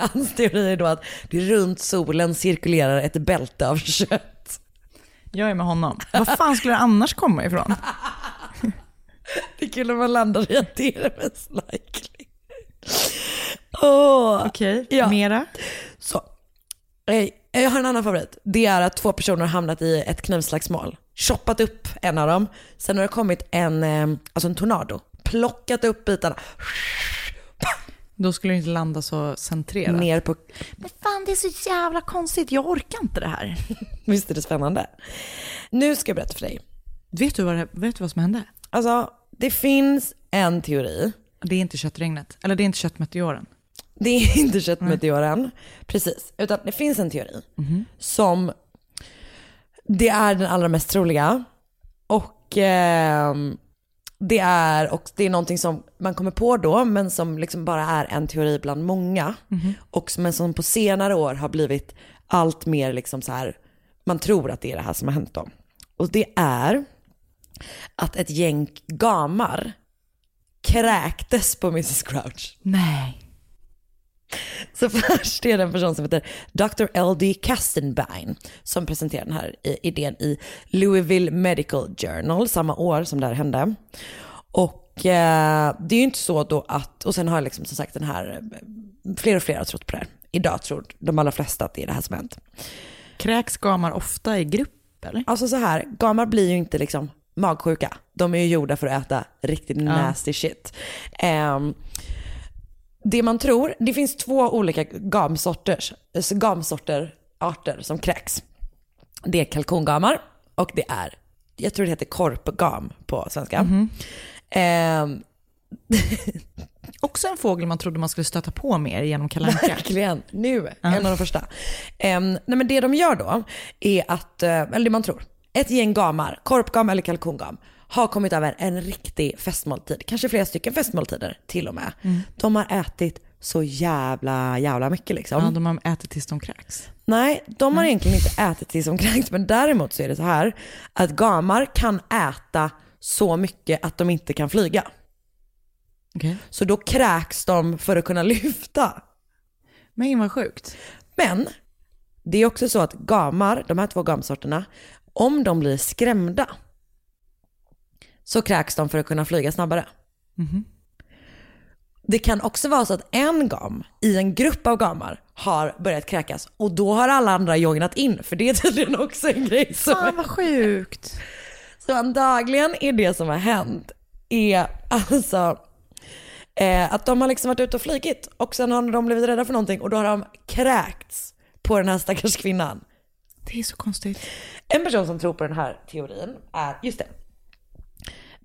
[SPEAKER 5] Hans teori är då att det runt solen cirkulerar ett bälte av kött.
[SPEAKER 4] Jag är med honom. Var fan skulle det annars komma ifrån?
[SPEAKER 5] Det är kul om man landar i att det är det mest likely. Oh,
[SPEAKER 4] Okej, mera?
[SPEAKER 5] Så. Eh, Jag har en annan favorit. Det är att två personer har hamnat i ett knivslagsmål. Choppat upp en av dem. Sen har det kommit en, eh, alltså en tornado. Plockat upp bitarna.
[SPEAKER 4] Då skulle du inte landa så centrerat.
[SPEAKER 5] Ner på...
[SPEAKER 4] Men fan det är så jävla konstigt, jag orkar inte det här.
[SPEAKER 5] Visst är det spännande? Nu ska jag berätta för dig.
[SPEAKER 4] Vet du vad, det, vet du vad som hände?
[SPEAKER 5] Alltså, det finns en teori.
[SPEAKER 4] Det är inte köttregnet, eller det är inte köttmeteoren.
[SPEAKER 5] Det är inte köttmeteoren, precis. Utan det finns en teori som det är den allra mest troliga. Och ehm, det, är, och det är någonting som man kommer på då, men som liksom bara är en teori bland många.
[SPEAKER 13] Mhm.
[SPEAKER 5] Och som, men som på senare år har blivit allt mer liksom så här, man tror att det är det här som har hänt då. Och det är att ett gäng gamar kräktes på Mrs Crouch.
[SPEAKER 4] Nej.
[SPEAKER 5] Så först är det en person som heter Dr. L.D. Kastenbein som presenterar den här i- idén i Louisville Medical Journal samma år som det här hände. Och eh, det är ju inte så då att, och sen har liksom som sagt den här, eh, fler och fler har trott på det här. Idag tror de allra flesta att det är det här som har hänt.
[SPEAKER 4] Kräks gamar ofta i grupp eller?
[SPEAKER 5] Alltså så här, gamar blir ju inte liksom magsjuka. De är ju gjorda för att äta riktigt nasty shit. Ehm, det man tror, det finns två olika gamsorters, alltså gamsorter, arter som kräks. Det är kalkongamar och det är, jag tror det heter korpgam på svenska. Ehm,
[SPEAKER 4] Också en fågel man trodde man skulle stöta på mer genom Kalle Anka.
[SPEAKER 5] Verkligen, nu. En av de första. Em, nej men det de gör då är att, eh, eller det man tror, ett gäng gamar, korpgam eller kalkongam, har kommit över en riktig festmåltid. Kanske flera stycken festmåltider till och med.
[SPEAKER 4] Mm.
[SPEAKER 5] De har ätit så jävla, jävla mycket liksom.
[SPEAKER 4] Ja, de har ätit tills de kräks.
[SPEAKER 5] Nej, de har egentligen inte ätit tills de kräks. Men däremot så är det så här att gamar kan äta så mycket att de inte kan flyga. Så då kräks de för att kunna lyfta.
[SPEAKER 4] Men vad sjukt.
[SPEAKER 5] Men det är också så att gamar, de här två gamsorterna, om de blir skrämda så kräks de för att kunna flyga snabbare.
[SPEAKER 4] Mhm.
[SPEAKER 5] Det kan också vara så att en gam i en grupp av gamar har börjat kräkas och då har alla andra joinat in för det är tydligen också en grej som...
[SPEAKER 4] Fan, vad sjukt.
[SPEAKER 5] Så antagligen är det som har hänt är alltså eh, att de har liksom varit ute och flygit och sen har de blivit rädda för någonting och då har de kräkts på den här stackars kvinnan.
[SPEAKER 4] Det är så konstigt.
[SPEAKER 5] En person som tror på den här teorin är, just det.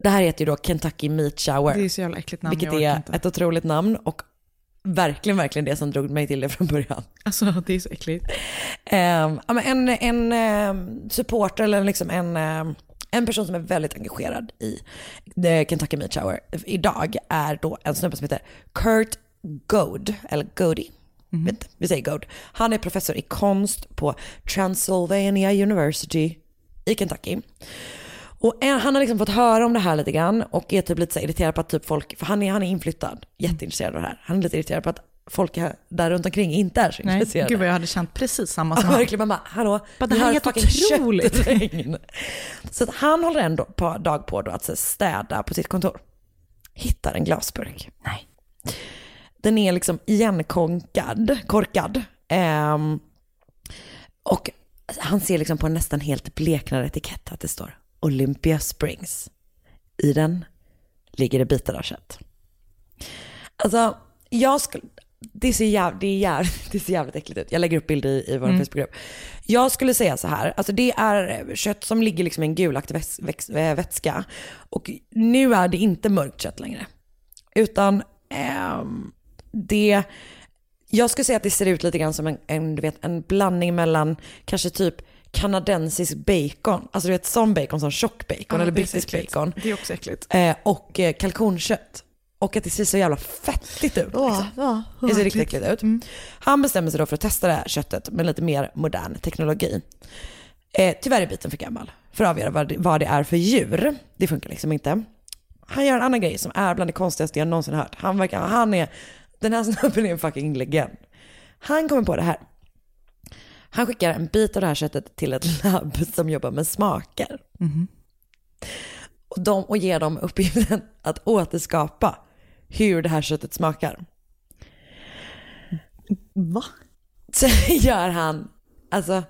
[SPEAKER 5] Det här heter ju då Kentucky Meat Shower.
[SPEAKER 4] Det är så jävla äckligt namn,
[SPEAKER 5] Vilket
[SPEAKER 4] jag orkar
[SPEAKER 5] är ett otroligt namn och verkligen, verkligen det som drog mig till det från början.
[SPEAKER 4] Alltså det är så äckligt.
[SPEAKER 5] Ehm, ja, men en, en ehm, supporter eller liksom en, ehm, en person som är väldigt engagerad i the Kentucky Meat Shower idag är då en snubbe som heter Kurt Goad, eller Goody.
[SPEAKER 4] Mhm.
[SPEAKER 5] Vet inte, Vi säger Goad. Han är professor i konst på Transylvania University i Kentucky. Och en, han har liksom fått höra om det här lite grann och är typ lite så här irriterad på att typ folk, för han är, han är inflyttad, jätteintresserad av det här. Han är lite irriterad på att folk här- där runt omkring inte är så
[SPEAKER 4] Nej,
[SPEAKER 5] intresserade.
[SPEAKER 4] gud vad jag hade känt precis samma
[SPEAKER 5] Ja,
[SPEAKER 4] som han.
[SPEAKER 5] verkligen. Man bara, hallå,
[SPEAKER 4] Bara, det
[SPEAKER 5] vi
[SPEAKER 4] här
[SPEAKER 5] har
[SPEAKER 4] är
[SPEAKER 5] ett
[SPEAKER 4] helt
[SPEAKER 5] fucking
[SPEAKER 4] otroligt.
[SPEAKER 5] köttregn. Så att han håller en do- på- dag på då att så här städa på sitt kontor. Hittar en glasburk. Nej. Den är liksom igenkonkad, korkad. Ehm, och han ser liksom på en nästan helt bleknad etikett att det står Olympia Springs. I den ligger det bitar av kött. Alltså, jag skulle... Det ser, jäv, det, är jäv, det ser jävligt äckligt ut. Jag lägger upp bilder i, i vår
[SPEAKER 11] Mm.
[SPEAKER 5] Facebookgrupp. Jag skulle säga så här, alltså det är kött som ligger liksom i en gulaktig väts, väx, eh, vätska. Och nu är det inte mörkt kött längre. Utan ehm, det... Jag skulle säga att det ser ut lite grann som en, en, du vet, en blandning mellan kanske typ kanadensisk bacon, alltså du vet sån bacon som tjock bacon
[SPEAKER 4] Ja,
[SPEAKER 5] eller
[SPEAKER 4] det är så
[SPEAKER 5] brittisk
[SPEAKER 4] äckligt.
[SPEAKER 5] bacon.
[SPEAKER 4] Det är också äckligt.
[SPEAKER 5] Eh, och eh, kalkonkött. Och att det ser så jävla fettigt ut. Liksom.
[SPEAKER 4] ja, Mm.
[SPEAKER 5] det ser riktigt
[SPEAKER 4] verkligen.
[SPEAKER 5] äckligt ut. Han bestämmer sig då för att testa det här köttet med lite mer modern teknologi. Eh, tyvärr är biten för gammal för att avgöra vad det, vad det är för djur. Det funkar liksom inte. Han gör en annan grej som är bland det konstigaste jag någonsin hört. Han verkar, han är, den här snubben är en fucking legend. Han kommer på det här. Han skickar en bit av det här köttet till ett labb som jobbar med smaker. och, de, och ger dem uppgiften att återskapa hur det här köttet smakar.
[SPEAKER 4] Va?
[SPEAKER 5] Sen gör han alltså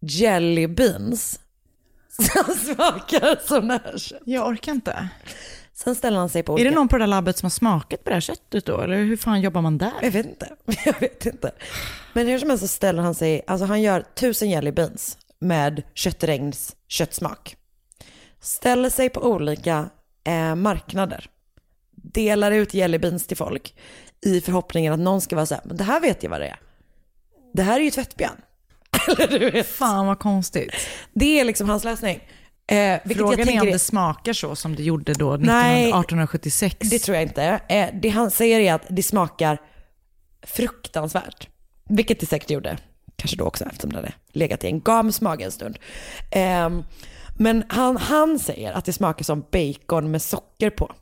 [SPEAKER 5] jelly beans som smakar som det här köttet.
[SPEAKER 4] Jag orkar inte.
[SPEAKER 5] Sen ställer han sig på
[SPEAKER 4] Är
[SPEAKER 5] olika...
[SPEAKER 4] det någon på det där labbet som har smakat på det här köttet då? Eller hur fan jobbar man där?
[SPEAKER 5] Jag vet inte. Jag vet inte. Men hur som helst så ställer han sig, alltså han gör tusen jelly beans med köttregns köttsmak. Ställer sig på olika eh, marknader. Delar ut jelly beans till folk i förhoppningen att någon ska vara så här, men det här vet jag vad det är. Det här är ju tvättbjörn. Eller du vet.
[SPEAKER 4] Fan vad konstigt.
[SPEAKER 5] Det är liksom hans lösning. Eh, vilket
[SPEAKER 4] Frågan
[SPEAKER 5] jag
[SPEAKER 4] är om
[SPEAKER 5] tänker
[SPEAKER 4] det smakar så som det gjorde då 1900,
[SPEAKER 5] Nej.
[SPEAKER 4] 1876.
[SPEAKER 5] Det tror jag inte. Eh, Det han säger är att det smakar fruktansvärt. Vilket det säkert gjorde. Kanske då också eftersom det hade legat i en gamsmage en stund. Ehm, Men han, han säger att det smakar som bacon med socker på.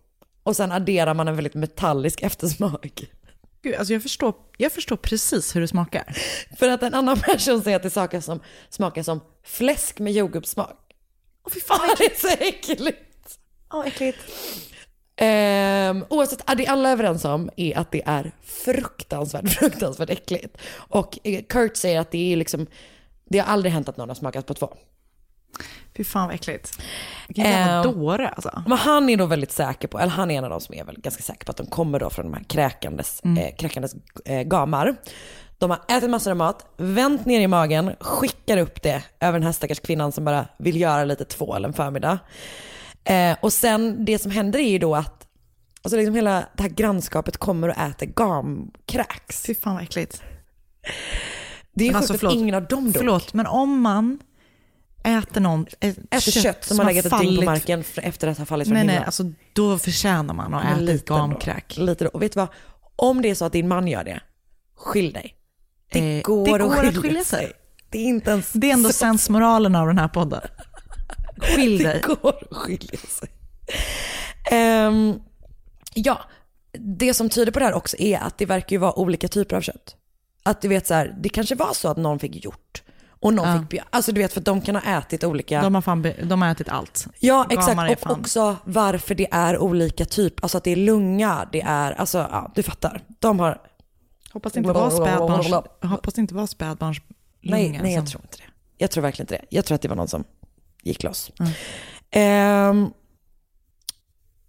[SPEAKER 5] Och sen adderar man en väldigt metallisk eftersmak.
[SPEAKER 4] Gud, alltså jag, förstår, jag förstår precis hur det smakar.
[SPEAKER 5] För att en annan person säger att det smakar som, smakar som fläsk med jordgubbssmak.
[SPEAKER 4] Åh fy fan
[SPEAKER 5] det är så äckligt.
[SPEAKER 4] Åh, äckligt.
[SPEAKER 5] Um, oavsett, ah, det alla är överens om är att det är fruktansvärt, fruktansvärt äckligt. Och eh, Kurt säger att det är liksom, det har aldrig hänt att någon har smakat på två.
[SPEAKER 4] Fy fan vad äckligt. Vilken jävla
[SPEAKER 5] Ehm,
[SPEAKER 4] dåre alltså.
[SPEAKER 5] Men han är då väldigt säker på, eller han är en av de som är väl ganska säker på att de kommer då från de här kräkandes,
[SPEAKER 4] Mm.
[SPEAKER 5] eh, kräkandes eh, gamar. De har ätit massor av mat, vänt ner i magen, skickar upp det över den här stackars kvinnan som bara vill göra lite tvål en förmiddag. Eh, och sen det som händer är ju då att alltså liksom hela det här grannskapet kommer och äter gamkräks.
[SPEAKER 4] Fy fan vad äckligt.
[SPEAKER 5] Det är
[SPEAKER 4] Men
[SPEAKER 5] ju
[SPEAKER 4] alltså,
[SPEAKER 5] sjukt att
[SPEAKER 4] förlåt.
[SPEAKER 5] ingen av dem dog.
[SPEAKER 4] Förlåt, men om man äter, någon, ett
[SPEAKER 5] Äter kött, som har legat ett dygn på marken f- efter att ha fallit från
[SPEAKER 4] Nej, nej,
[SPEAKER 5] himlen.
[SPEAKER 4] alltså då förtjänar man att
[SPEAKER 5] Men
[SPEAKER 4] äta ett
[SPEAKER 5] lite då.
[SPEAKER 4] gamkräk.
[SPEAKER 5] Lite då. Och vet du vad? Om det är så att din man gör det, skilj dig. Det
[SPEAKER 4] Eh,
[SPEAKER 5] går,
[SPEAKER 4] det går
[SPEAKER 5] att, skilja
[SPEAKER 4] att skilja sig.
[SPEAKER 5] Det är inte ens
[SPEAKER 4] Det är ändå
[SPEAKER 5] så-
[SPEAKER 4] sensmoralen av den här podden. Skilj dig.
[SPEAKER 5] Det går att skilja sig. Ehm, ja, det som tyder på det här också är att det verkar ju vara olika typer av kött. Att du vet så här, det kanske var så att någon fick hjort och någon
[SPEAKER 4] Ja.
[SPEAKER 5] fick björn. Alltså du vet för att de kan ha ätit olika.
[SPEAKER 4] De har, fan be- de har ätit allt.
[SPEAKER 5] Ja
[SPEAKER 4] Gamar är
[SPEAKER 5] exakt, och
[SPEAKER 4] fan-
[SPEAKER 5] också varför det är olika typ, alltså att det är lunga, det är, alltså ja, du fattar. De har...
[SPEAKER 4] Hoppas det inte var spädbarns, hoppas det inte var spädbarns
[SPEAKER 5] Nej, nej jag tror inte det. Jag tror verkligen inte det. Jag tror att det var någon som gick loss. Ehm,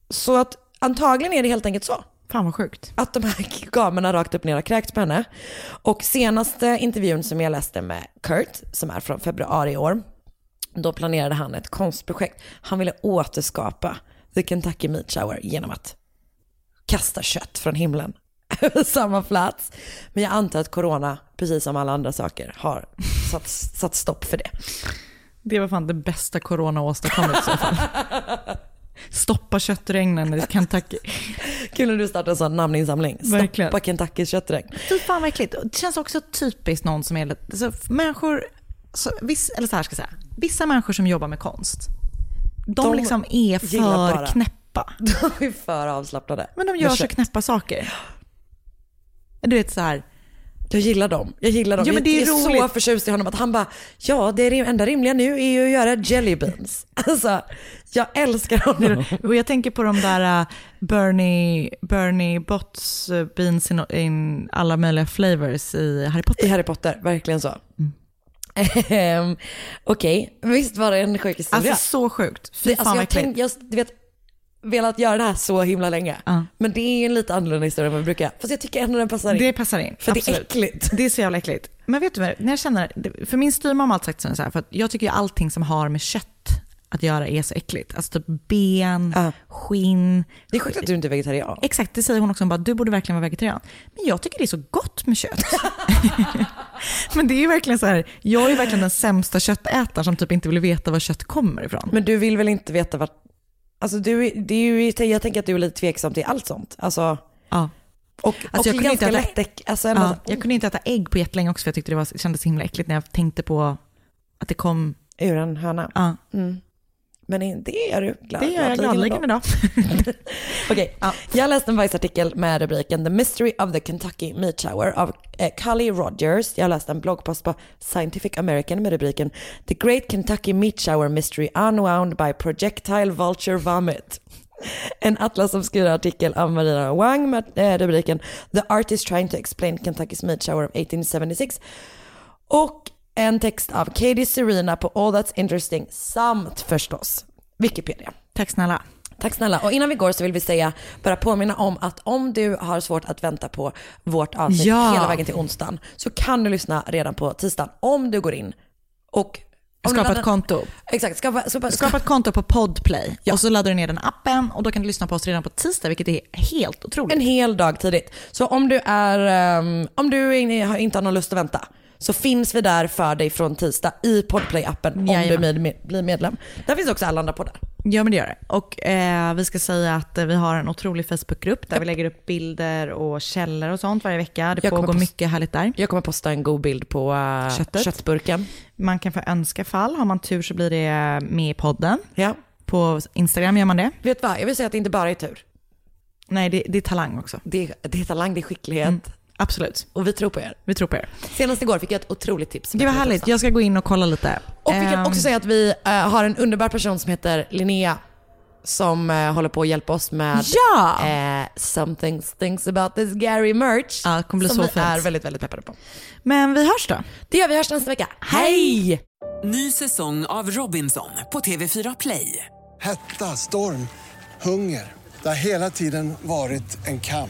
[SPEAKER 5] så att antagligen är det helt enkelt så.
[SPEAKER 4] Fan vad sjukt.
[SPEAKER 5] Att de här gamerna rakt upp ner har kräkts på henne. Och senaste intervjun som jag läste med Kurt, som är från februari i år, då planerade han ett konstprojekt. Han ville återskapa The Kentucky Meat Shower genom att kasta kött från himlen över samma plats. Men jag antar att corona, precis som alla andra saker, har satt, satt stopp för det.
[SPEAKER 4] Det var fan det bästa corona åstadkommit i så fall. Stoppa köttregnen i Kentucky.
[SPEAKER 5] Kul när du startar en sån namninsamling.
[SPEAKER 4] Verkligen.
[SPEAKER 5] Stoppa Kentuckys köttregn.
[SPEAKER 4] Fy fan vad äckligt. Det känns också typiskt någon som är lite... Så människor, så, viss, eller så här ska jag säga. Vissa människor som jobbar med konst, de,
[SPEAKER 5] De
[SPEAKER 4] liksom är
[SPEAKER 5] gillar
[SPEAKER 4] för
[SPEAKER 5] bara-
[SPEAKER 4] knäppa.
[SPEAKER 5] De är för avslappnade.
[SPEAKER 4] Men de gör
[SPEAKER 5] Med
[SPEAKER 4] så
[SPEAKER 5] kött.
[SPEAKER 4] knäppa saker. Du vet så här.
[SPEAKER 5] Jag gillar dem. Jag gillar dem.
[SPEAKER 4] Ja, men det är
[SPEAKER 5] jag är så
[SPEAKER 4] roligt.
[SPEAKER 5] förtjust i honom att han bara, ja det är det enda rimliga nu är ju att göra jelly beans. Alltså, jag älskar honom.
[SPEAKER 4] Och jag tänker på de där eh, Bernie, Bernie Botts eh, beans in, in alla möjliga flavors i Harry Potter.
[SPEAKER 5] I Harry Potter, verkligen så. Ehm, Okej, visst var det en sjuk historia?
[SPEAKER 4] Alltså så sjukt. Fy
[SPEAKER 5] Det-
[SPEAKER 4] fan
[SPEAKER 5] alltså,
[SPEAKER 4] vad
[SPEAKER 5] jag,
[SPEAKER 4] äckligt.
[SPEAKER 5] tänk, jag du vet, velat göra det här så himla länge. Men det är ju en lite annorlunda historia än vad vi brukar. Fast jag tycker ändå den passar in.
[SPEAKER 4] Det passar in.
[SPEAKER 5] För det är
[SPEAKER 4] absolut.
[SPEAKER 5] äckligt.
[SPEAKER 4] Det är så jävla äckligt. Men vet du vad, när jag känner, för min styvmamma har alltid sagt så här, för att jag tycker ju allting som har med kött att göra är så äckligt. Alltså typ ben, skinn.
[SPEAKER 5] Det är sjukt att du inte är vegetarian.
[SPEAKER 4] Exakt, det säger hon också. Hon bara, du borde verkligen vara vegetarian. Men jag tycker det är så gott med kött. Men det är ju verkligen så här, jag är ju verkligen den sämsta köttätaren som typ inte vill veta var kött kommer ifrån.
[SPEAKER 5] Men du vill väl inte veta vart... Alltså du, är- det är ju, jag tänker att du är lite tveksam till allt sånt. Alltså,
[SPEAKER 4] Ja.
[SPEAKER 5] och,
[SPEAKER 4] Alltså,
[SPEAKER 5] och
[SPEAKER 4] jag kunde inte
[SPEAKER 5] ganska
[SPEAKER 4] äta-
[SPEAKER 5] lättäck. Alltså, ändå
[SPEAKER 4] Ja,
[SPEAKER 5] så-
[SPEAKER 4] jag kunde inte äta ägg på jättelänge också för jag tyckte det var, kändes så himla äckligt när jag tänkte på att det kom
[SPEAKER 5] Ur en höna.
[SPEAKER 4] Ja.
[SPEAKER 5] Mm. Men det är du glad
[SPEAKER 4] Det gör jag gladeligen idag.
[SPEAKER 5] Okej, jag läste en Vice-artikel med rubriken The Mystery of the Kentucky Meat Shower av eh, Cully Rogers. Jag läste en bloggpost på Scientific American med rubriken The Great Kentucky Meat Shower Mystery Unwound by Projectile Vulture Vomit. En Atlas Obscura-artikel av Marina Wang med eh, rubriken The Artist Trying to Explain Kentucky's Meat Shower of 1876. Och en text av Katie Serena på All That's Interesting samt förstås Wikipedia.
[SPEAKER 4] Tack snälla.
[SPEAKER 5] Tack snälla. Och innan vi går så vill vi säga, bara påminna om att om du har svårt att vänta på vårt avsnitt
[SPEAKER 4] Ja.
[SPEAKER 5] hela vägen till onsdagen så kan du lyssna redan på tisdagen om du går in och om du
[SPEAKER 4] Skapa
[SPEAKER 5] laddar-
[SPEAKER 4] ett konto.
[SPEAKER 5] Exakt, skapa, skapa,
[SPEAKER 4] Skapa ett konto på Podplay och så laddar du ner den appen och då kan du lyssna på oss redan på tisdag vilket är helt otroligt.
[SPEAKER 5] En hel dag tidigt. Så om du, är, ehm, om du in- har- inte har någon lust att vänta så finns vi där för dig från tisdag i Podplay-appen om du
[SPEAKER 4] Jajamän.
[SPEAKER 5] med, med, blir medlem. Där finns också alla andra poddar.
[SPEAKER 4] Ja men det gör det. Och eh, vi ska säga att eh, vi har en otrolig Facebookgrupp där vi lägger upp bilder och källor och sånt varje vecka. Det
[SPEAKER 5] Jag kommer
[SPEAKER 4] pågår
[SPEAKER 5] post-
[SPEAKER 4] mycket härligt där.
[SPEAKER 5] Jag kommer posta en god bild på eh,
[SPEAKER 4] Köttet.
[SPEAKER 5] köttburken.
[SPEAKER 4] Man kan få önska fall. Har man tur så blir det eh, med i podden.
[SPEAKER 5] Ja.
[SPEAKER 4] På Instagram gör man det.
[SPEAKER 5] Vet du vad, jag vill säga att det inte bara är tur.
[SPEAKER 4] Nej, det, det är talang också.
[SPEAKER 5] Det, det är talang, det är skicklighet.
[SPEAKER 4] Mm. Absolut.
[SPEAKER 5] Och vi tror på er.
[SPEAKER 4] Vi tror på er.
[SPEAKER 5] Senast igår fick jag ett otroligt tips.
[SPEAKER 4] Det var härligt. Jag ska gå in och kolla lite.
[SPEAKER 5] Och vi kan
[SPEAKER 4] Ehm,
[SPEAKER 5] också säga att vi eh, har en underbar person som heter Linnea som eh, håller på att hjälpa oss med
[SPEAKER 4] Ja!
[SPEAKER 5] eh, Something Things About This Gary merch.
[SPEAKER 4] Ja, det kommer bli
[SPEAKER 5] som
[SPEAKER 4] så
[SPEAKER 5] vi
[SPEAKER 4] fint.
[SPEAKER 5] är väldigt, väldigt peppade på.
[SPEAKER 4] Men vi hörs då.
[SPEAKER 5] Det gör vi, hörs nästa vecka. Hej!
[SPEAKER 6] Ny säsong av Robinson på TV4 Play.
[SPEAKER 7] Hetta, storm, hunger. Det har hela tiden varit en kamp.